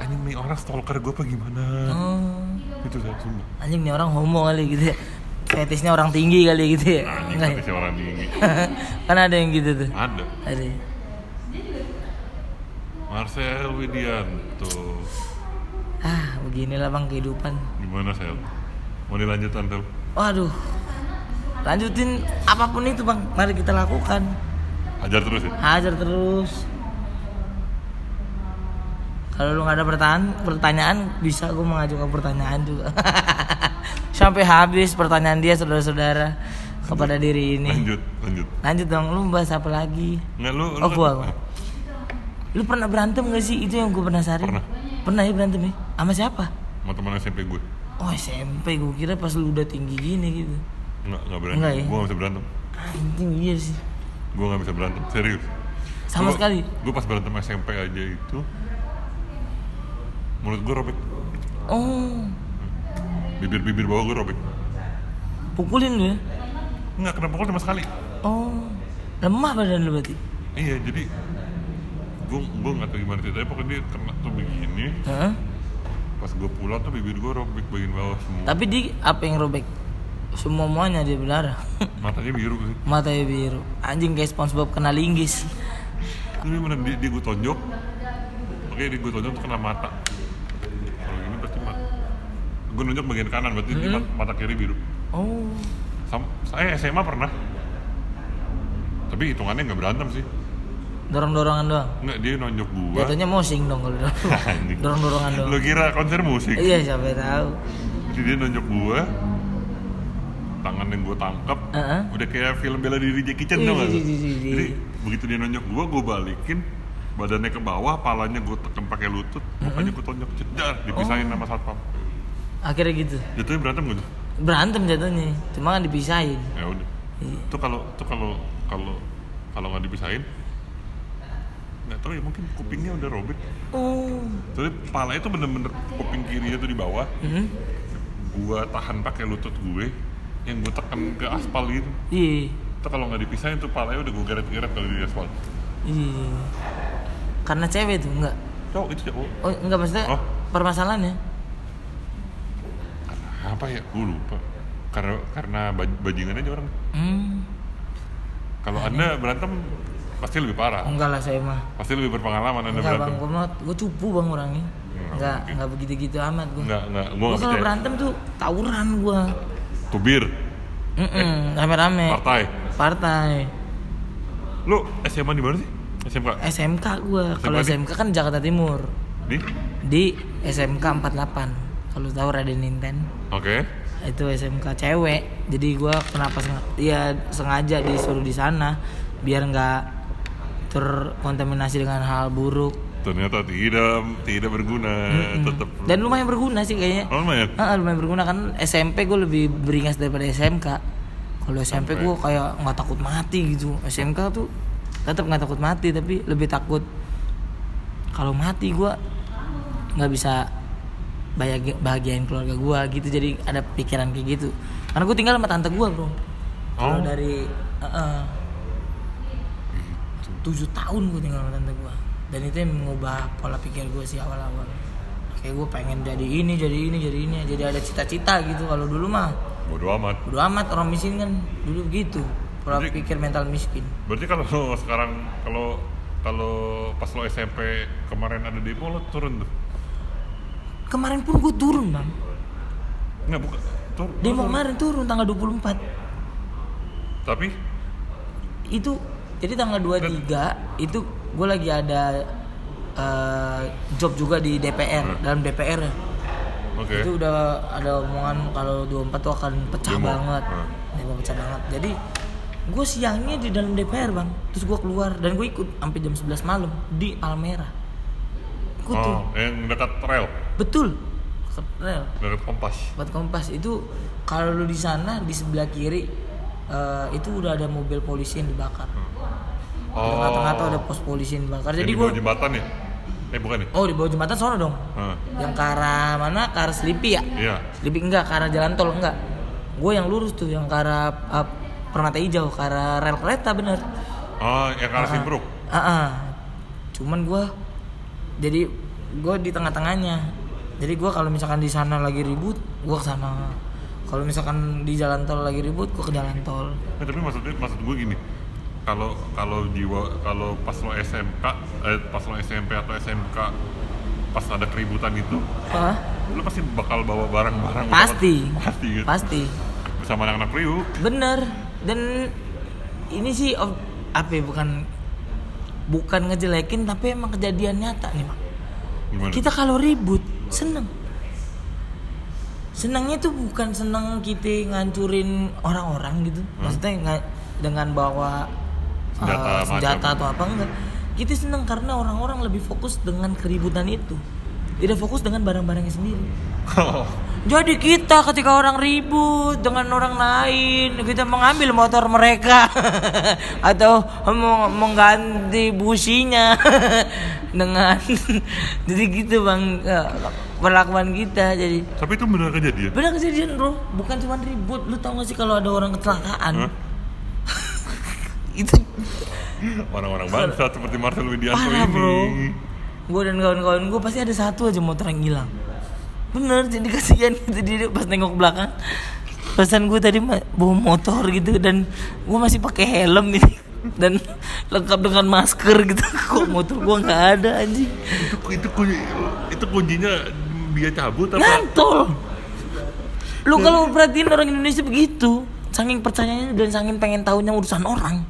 A: anjing nih orang stalker gue apa gimana
B: Oh.
A: itu saya sumpah
B: anjing nih orang homo kali gitu ya fetisnya orang tinggi kali gitu ya
A: anjing kata
B: Enggak ya? (laughs)
A: si orang tinggi
B: kan ada yang gitu tuh
A: ada
B: ada ya?
A: Marcel Widianto
B: ah beginilah bang kehidupan
A: gimana Sel mau dilanjutkan Sel
B: waduh lanjutin apapun itu bang mari kita lakukan
A: ajar terus ya
B: hajar terus kalau lu nggak ada pertanyaan pertanyaan bisa gue (laughs) mengajukan pertanyaan juga sampai habis pertanyaan dia saudara-saudara kepada diri ini
A: lanjut lanjut
B: lanjut dong lu bahas apa lagi
A: nggak lu, lu
B: Oh, gua, gua.
A: kan,
B: lu pernah berantem gak sih itu yang gue penasaran
A: Pernah.
B: pernah ya berantem ya sama siapa
A: sama teman SMP gue
B: oh SMP gue kira pas lu udah tinggi gini gitu
A: nggak nggak berani
B: Nggak ya?
A: gue nggak bisa berantem
B: anjing iya sih
A: gue nggak bisa berantem serius
B: sama
A: Gua-
B: sekali
A: gue pas berantem SMP aja itu menurut gue robek
B: oh
A: bibir-bibir bawah gue robek
B: pukulin lu ya
A: nggak kena pukul cuma sekali
B: oh lemah badan lu berarti
A: iya jadi gue gue nggak tahu gimana ceritanya pokoknya dia kena tuh begini
B: Heeh.
A: pas gue pulang tuh bibir gue robek bagian bawah semua
B: tapi di apa yang robek semua muanya dia berdarah (laughs)
A: matanya biru sih
B: matanya biru anjing kayak SpongeBob kena linggis
A: Ini bener dia, dia gue tonjok Oke dia gue tonjok tuh kena mata Kalau gini berarti mata Gue nunjuk bagian kanan berarti ini mat- mata kiri biru
B: oh
A: Sam- Saya SMA pernah Tapi hitungannya nggak berantem sih
B: dorong dorongan doang
A: Nggak dia nonjok gue (laughs)
B: jatuhnya mosing dong kalau
A: Anjing.
B: dorong dorongan doang
A: Lo kira konser musik
B: (laughs) iya siapa tahu
A: Jadi dia nonjok gue tangan yang gue tangkap
B: Heeh.
A: udah kayak film bela diri Jackie Chan
B: Ih,
A: tau nggak lu?
B: ih, ih, ih, ih.
A: jadi begitu dia nonjok gue gue balikin badannya ke bawah palanya gue tekan pakai lutut makanya gue tonjok jedar dipisahin sama satpam
B: akhirnya gitu
A: jatuhnya berantem gitu
B: berantem jatuhnya cuma kan dipisahin
A: ya udah
B: Iya.
A: itu kalau itu kalau kalau kalau nggak dipisahin nggak tahu ya mungkin kupingnya udah robek
B: oh
A: soalnya pala itu bener-bener kuping kirinya tuh di bawah
B: Mm-mm.
A: gue tahan pakai lutut gue yang gue tekan ke aspal gitu
B: iya
A: itu kalau nggak dipisahin tuh palanya udah gue geret-geret kalau di aspal
B: iya karena cewek tuh enggak
A: cowok itu cowok
B: oh enggak maksudnya
A: Oh.
B: permasalahannya
A: apa ya gue lupa karena karena baj- bajingan aja orang
B: hmm
A: kalau anda berantem pasti lebih parah
B: enggak lah saya mah
A: pasti lebih berpengalaman anda
B: enggak bang
A: berantem
B: gue mah gue cupu bang orangnya enggak
A: mungkin.
B: enggak begitu gitu amat gue
A: nggak nggak gue
B: gue
A: nggak
B: kalau
A: percaya
B: berantem tuh tawuran gue
A: tubir
B: Mm-mm, rame-rame
A: partai
B: partai
A: lu SMA di mana sih SMK
B: SMK gue kalau
A: di-
B: SMK kan Jakarta Timur
A: di
B: di SMK 48 kalau tahu Raden Ninten
A: oke
B: itu SMK cewek jadi gua kenapa sengaja, ya sengaja disuruh di sana biar nggak terkontaminasi dengan hal buruk
A: ternyata tidak tidak berguna tetap
B: dan lumayan berguna sih kayaknya
A: oh lumayan
B: Ah, lumayan berguna kan SMP gue lebih beringas daripada SMK kalau SMP gue kayak nggak takut mati gitu SMK tuh tetap nggak takut mati tapi lebih takut kalau mati gua nggak bisa bayagi- bahagiain keluarga gua gitu jadi ada pikiran kayak gitu karena gue tinggal sama tante gua bro
A: Oh.
B: kalau dari eh, tujuh tahun gue tinggal sama tante gue dan itu yang mengubah pola pikir gue sih awal-awal kayak gue pengen jadi ini jadi ini jadi ini jadi ada cita-cita gitu kalau dulu mah
A: bodoh amat
B: udah amat orang miskin kan dulu gitu pola
A: Jadi-
B: pikir mental miskin
A: berarti kalau lu sekarang kalau kalau pas lo SMP kemarin ada demo lo turun tuh
B: kemarin pun gue turun bang
A: nggak bukan turun
B: demo kemarin turun tanggal 24
A: tapi
B: itu jadi tanggal 23 itu gue lagi ada eh, job juga di DPR dalam DPR ya
A: Hmm. oke
B: itu udah ada omongan kalau 24 tuh akan pecah
A: Demo.
B: banget
A: Hmm.
B: Demo pecah banget jadi gue siangnya di dalam DPR bang terus gue keluar dan gue ikut sampai jam 11 malam di Palmera ikut tuh
A: oh yang dekat rel
B: betul Keren.
A: dekat kompas
B: buat kompas itu kalau lu di sana di sebelah kiri eh, itu udah ada mobil polisi yang dibakar Di tengah-tengah tuh ada pos polisi yang
A: Oh.
B: dibakar
A: yang
B: jadi
A: di
B: gue
A: bawah jembatan ya eh bukan ya
B: oh di bawah jembatan sono dong
A: Hah.
B: yang ke arah mana ke arah Selipi ya
A: Ah, iya
B: Lebih enggak ke arah jalan tol enggak. Gue yang lurus tuh yang ke arah uh, Permata Hijau ke arah rel kereta bener.
A: oh yang ke arah Simpruk
B: Ah, ah. cuman gue jadi gue di tengah-tengahnya. Jadi gue kalau misalkan di sana lagi ribut, gue ke sana. Kalau misalkan di jalan tol lagi ribut, gue ke jalan tol.
A: Eh, tapi maksudnya maksud gue gini kalau kalau jiwa kalau pas lo SMK eh, pas lo SMP atau SMK pas ada keributan itu
B: Hah?
A: lo pasti bakal bawa barang-barang
B: Pasti.
A: pasti gitu.
B: Pasti.
A: bersama anak-anak Priuk
B: Bener. Dan ini sih of- apa ya, bukan bukan ngejelekin tapi emang
A: Hmm.
B: kejadian nyata nih, Mak.
A: gimana
B: Kita kalau ribut seneng. senangnya tuh bukan seneng kita ngancurin orang-orang gitu maksudnya nggak dengan bawa eh,
A: Hmm. Senjata macam.
B: senjata atau apa enggak kita seneng karena orang-orang lebih fokus dengan keributan itu tidak fokus dengan barang-barangnya sendiri
A: Oh,
B: jadi kita ketika orang ribut dengan orang lain, kita mengambil motor mereka (laughs) atau meng- mengganti businya (laughs) dengan (laughs) jadi gitu bang eh, perlakuan kita. Jadi
A: Tapi itu benar kejadian.
B: benar kejadian bro, bukan cuma ribut. Lu tau gak sih kalau ada orang kecelakaan
A: Hah?
B: itu
A: Orang-orang bangsa seperti Marcel Widianto
B: parah bro.
A: ini.
B: Gue dan kawan-kawan gue pasti ada satu aja motor yang hilang. Bener, jadi kasihan gitu dia pas nengok belakang. Pesan gue tadi ma- bawa motor gitu dan gue masih pakai helm nih dan lengkap dengan masker gitu. (laughs) Kok motor gue nggak ada anjing.
A: Itu itu kunci itu kuncinya dia cabut apa?
B: Nyantol. Lu kalau perhatiin orang Indonesia begitu, saking percayanya dan saking pengen tahunya urusan orang.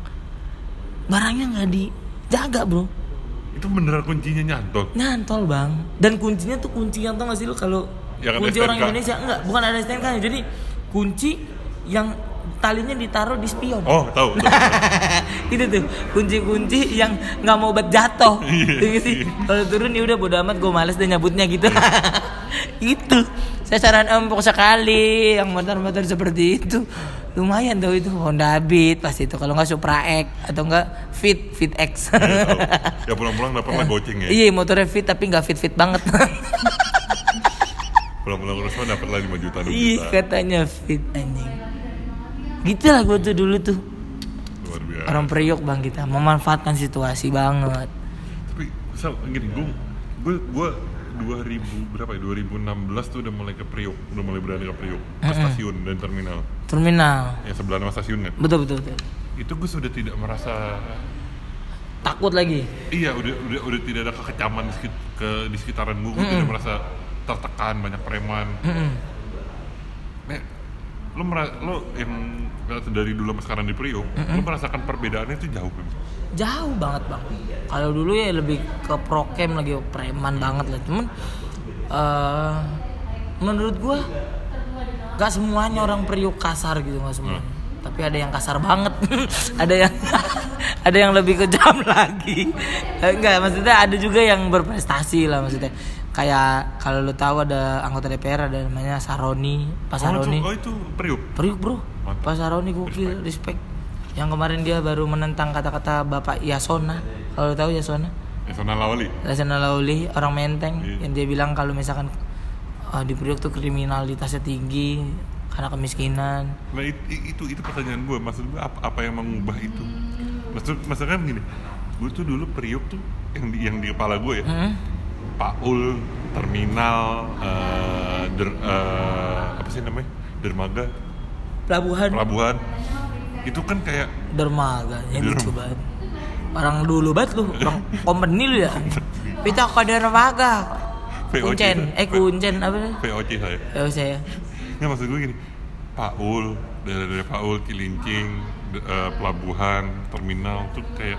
B: Barangnya nggak dijaga, Bro.
A: Itu beneran kuncinya nyantok.
B: Nyantol bang. Dan kuncinya tuh kunci yang tau gak sih lu kalau
A: Yang ada
B: kunci
A: STNK.
B: orang Indonesia enggak bukan ada STNK -nya. jadi kunci yang talinya ditaruh di spion.
A: Oh, tahu. tahu.
B: (laughs) itu tuh kunci-kunci yang nggak mau obat jatuh.
A: Iya,
B: Iya sih. Kalau turun ya udah bodo amat gue males deh nyabutnya gitu. (laughs) itu. Saya saran empuk sekali yang motor-motor seperti itu. Lumayan tuh itu Honda Beat pasti itu kalau nggak Supra X atau enggak Fit Fit X.
A: Iya, tahu. ya pulang-pulang dapat lah goceng ya.
B: (laughs) Iya motornya fit tapi nggak fit fit banget. (laughs)
A: Pulang-pulang terus dapat lah 5 juta 2
B: Iya
A: juta.
B: katanya fit anjing. Gitulah gue tuh dulu tuh
A: Luar biasa.
B: orang Priok bang kita memanfaatkan situasi banget.
A: Tapi misal gini, gue gue gue 2000 berapa ya? 2016 tuh udah mulai ke Priok, udah mulai berani ke Priok, ke stasiun dan terminal.
B: Terminal
A: Ya sebelah sama stasiun kan.
B: betul betul betul.
A: Itu gue sudah tidak merasa
B: Takut lagi.
A: Iya, udah udah udah tidak ada kekecaman di, sekit- ke, di sekitaran gue, gue tidak merasa tertekan banyak preman.
B: Mm-mm.
A: Nek, lo mera- lo yang dari dulu sampai sekarang di Priok, lo merasakan perbedaannya itu jauh Pim.
B: Jauh banget bang. Kalau dulu ya lebih ke prokem lagi preman banget lah. Cuman eh menurut gue gak semuanya orang Priok kasar gitu nggak semuanya. Tapi ada yang kasar banget. (laughs) ada yang ada yang lebih kejam (laughs) lagi. Eh, Enggak maksudnya ada juga yang berprestasi lah maksudnya. Kayak kalau lo tahu ada anggota DPR ada namanya Saroni, Pak
A: Oh itu,
B: Saroni.
A: oh itu Priok.
B: Priuk bro, Pak Saroni gokil, respect. Yang kemarin dia baru menentang kata-kata Bapak Yasona, kalau tahu Yasona,
A: Ya, sana Lawali.
B: Yasona Lauli, orang Menteng, yang dia bilang kalau misalkan ah, di Priuk tuh kriminalitasnya tinggi karena kemiskinan.
A: Nah, it- i- itu, itu pertanyaan gue, maksud gue apa, apa yang mengubah itu? Maksud maksudnya begini, gue tuh dulu Priok tuh yang di, yang di kepala gue ya,
B: Hmm?
A: Paul, terminal, eh, der- eh, apa sih namanya, dermaga,
B: Pelabuhan
A: pelabuhan itu kan kayak
B: dermaga, yang lucu banget. Orang dulu banget lu, orang company lu ya. Kita ke dermaga.
A: VOC.
B: Kuncen, eh kuncen apa?
A: VOC saya
B: Eh saya.
A: ya maksud gue gini Paul dari dari Paul Cilincing de- eh, pelabuhan terminal tuh kayak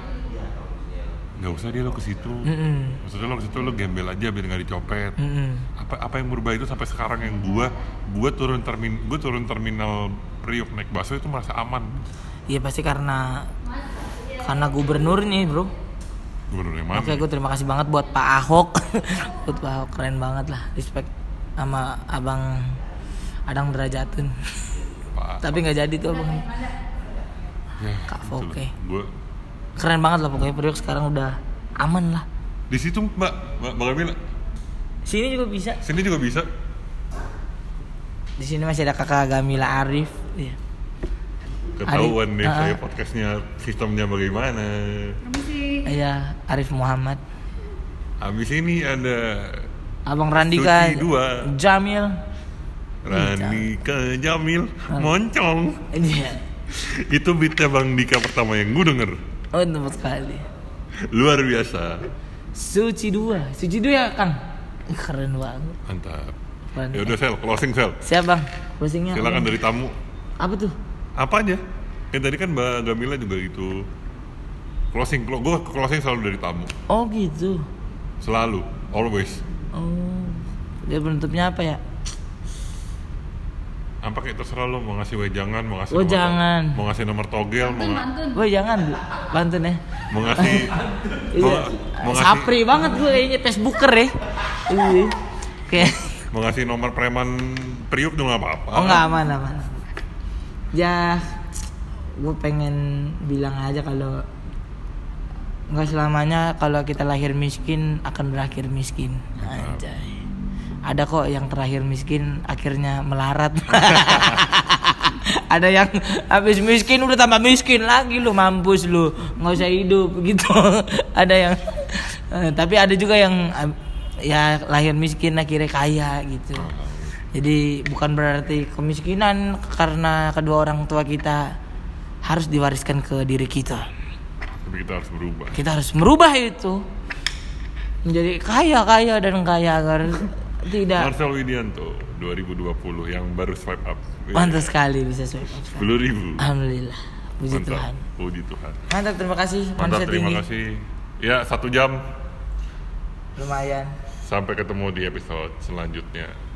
A: nggak usah dia lo ke situ
B: Mm-mm.
A: maksudnya lo ke situ lo gembel aja biar nggak dicopet
B: Mm-mm.
A: apa apa yang berubah itu sampai sekarang yang gua gua turun termin gua turun terminal Priok naik busway itu merasa aman
B: Iya pasti karena karena gubernurnya bro.
A: gubernur yang mana
B: Oke, gue terima kasih banget buat Pak Ahok. (laughs) buat Pak Ahok keren banget lah, respect sama Abang Adang Derajatun. (laughs)
A: Pak
B: Tapi nggak jadi tuh abang.
A: ya,
B: Kak
A: gitu
B: Foke.
A: loh. gua
B: Keren banget lah pokoknya Priok sekarang udah aman lah.
A: di situ mbak mbak mbak Gamila
B: Sini juga bisa.
A: sini juga bisa
B: Di sini masih ada Kakak Gamila Arif. Iya.
A: ketahuan
B: Adik,
A: deh
B: ah.
A: saya podcastnya sistemnya bagaimana
B: Iya, Arif Muhammad.
A: habis ini ada
B: Abang Randika
A: Suci dua.
B: Jamil.
A: Rani ke Jamil moncong
B: Iya.
A: itu beatnya Bang Dika pertama yang gue denger
B: Oh, tempat sekali.
A: luar biasa
B: Suci dua, Suci dua ya, Kang. Ih, Keren banget.
A: mantap
B: Keren.
A: ya udah sel closing sel
B: Siap, Bang. Closingnya.
A: silakan dari tamu
B: Apa tuh?
A: apa aja yang tadi kan Mbak Gamila juga gitu closing gue closing selalu dari tamu
B: Oh, gitu.
A: selalu always
B: Oh, dia penutupnya apa ya?
A: apa kayak terserah lo mau ngasih wejangan mau
B: Oh,
A: ngasih
B: Wejangan.
A: nomor, mau ngasih nomor togel mau, nga-
C: Pantun,
B: Gue jangan, Bu. Pantun ya.
A: mau ngasih
B: (laughs)
A: mau,
B: Iya.
A: mau ngasih
B: Sapri banget gue kayaknya Facebooker ya. Iya.
A: (laughs)
B: Kayak
A: mau ngasih nomor preman priuk tuh nggak apa-apa
B: oh enggak aman aman. Ya gue pengen bilang aja kalau nggak selamanya kalau kita lahir miskin akan berakhir miskin. Anjay. Ada kok yang terakhir miskin akhirnya melarat. (laughs) Ada yang habis miskin udah tambah miskin lagi lu mampus lu nggak usah hidup (laughs) gitu. ada yang eh, tapi ada juga yang eh, ya lahir miskin akhirnya kaya gitu. Jadi bukan berarti kemiskinan karena kedua orang tua kita harus diwariskan ke diri kita
A: tapi kita harus berubah
B: kita harus merubah itu menjadi kaya kaya dan kaya agar
A: (laughs)
B: tidak
A: Marcel Widianto 2020 yang baru swipe up
B: mantap sekali bisa swipe up sekarang.
A: sepuluh ribu
B: alhamdulillah puji Tuhan
A: puji Tuhan
B: mantap terima kasih
A: mantap
B: manusia
A: terima
B: tinggi
A: kasih ya satu jam
B: lumayan
A: sampai ketemu di episode selanjutnya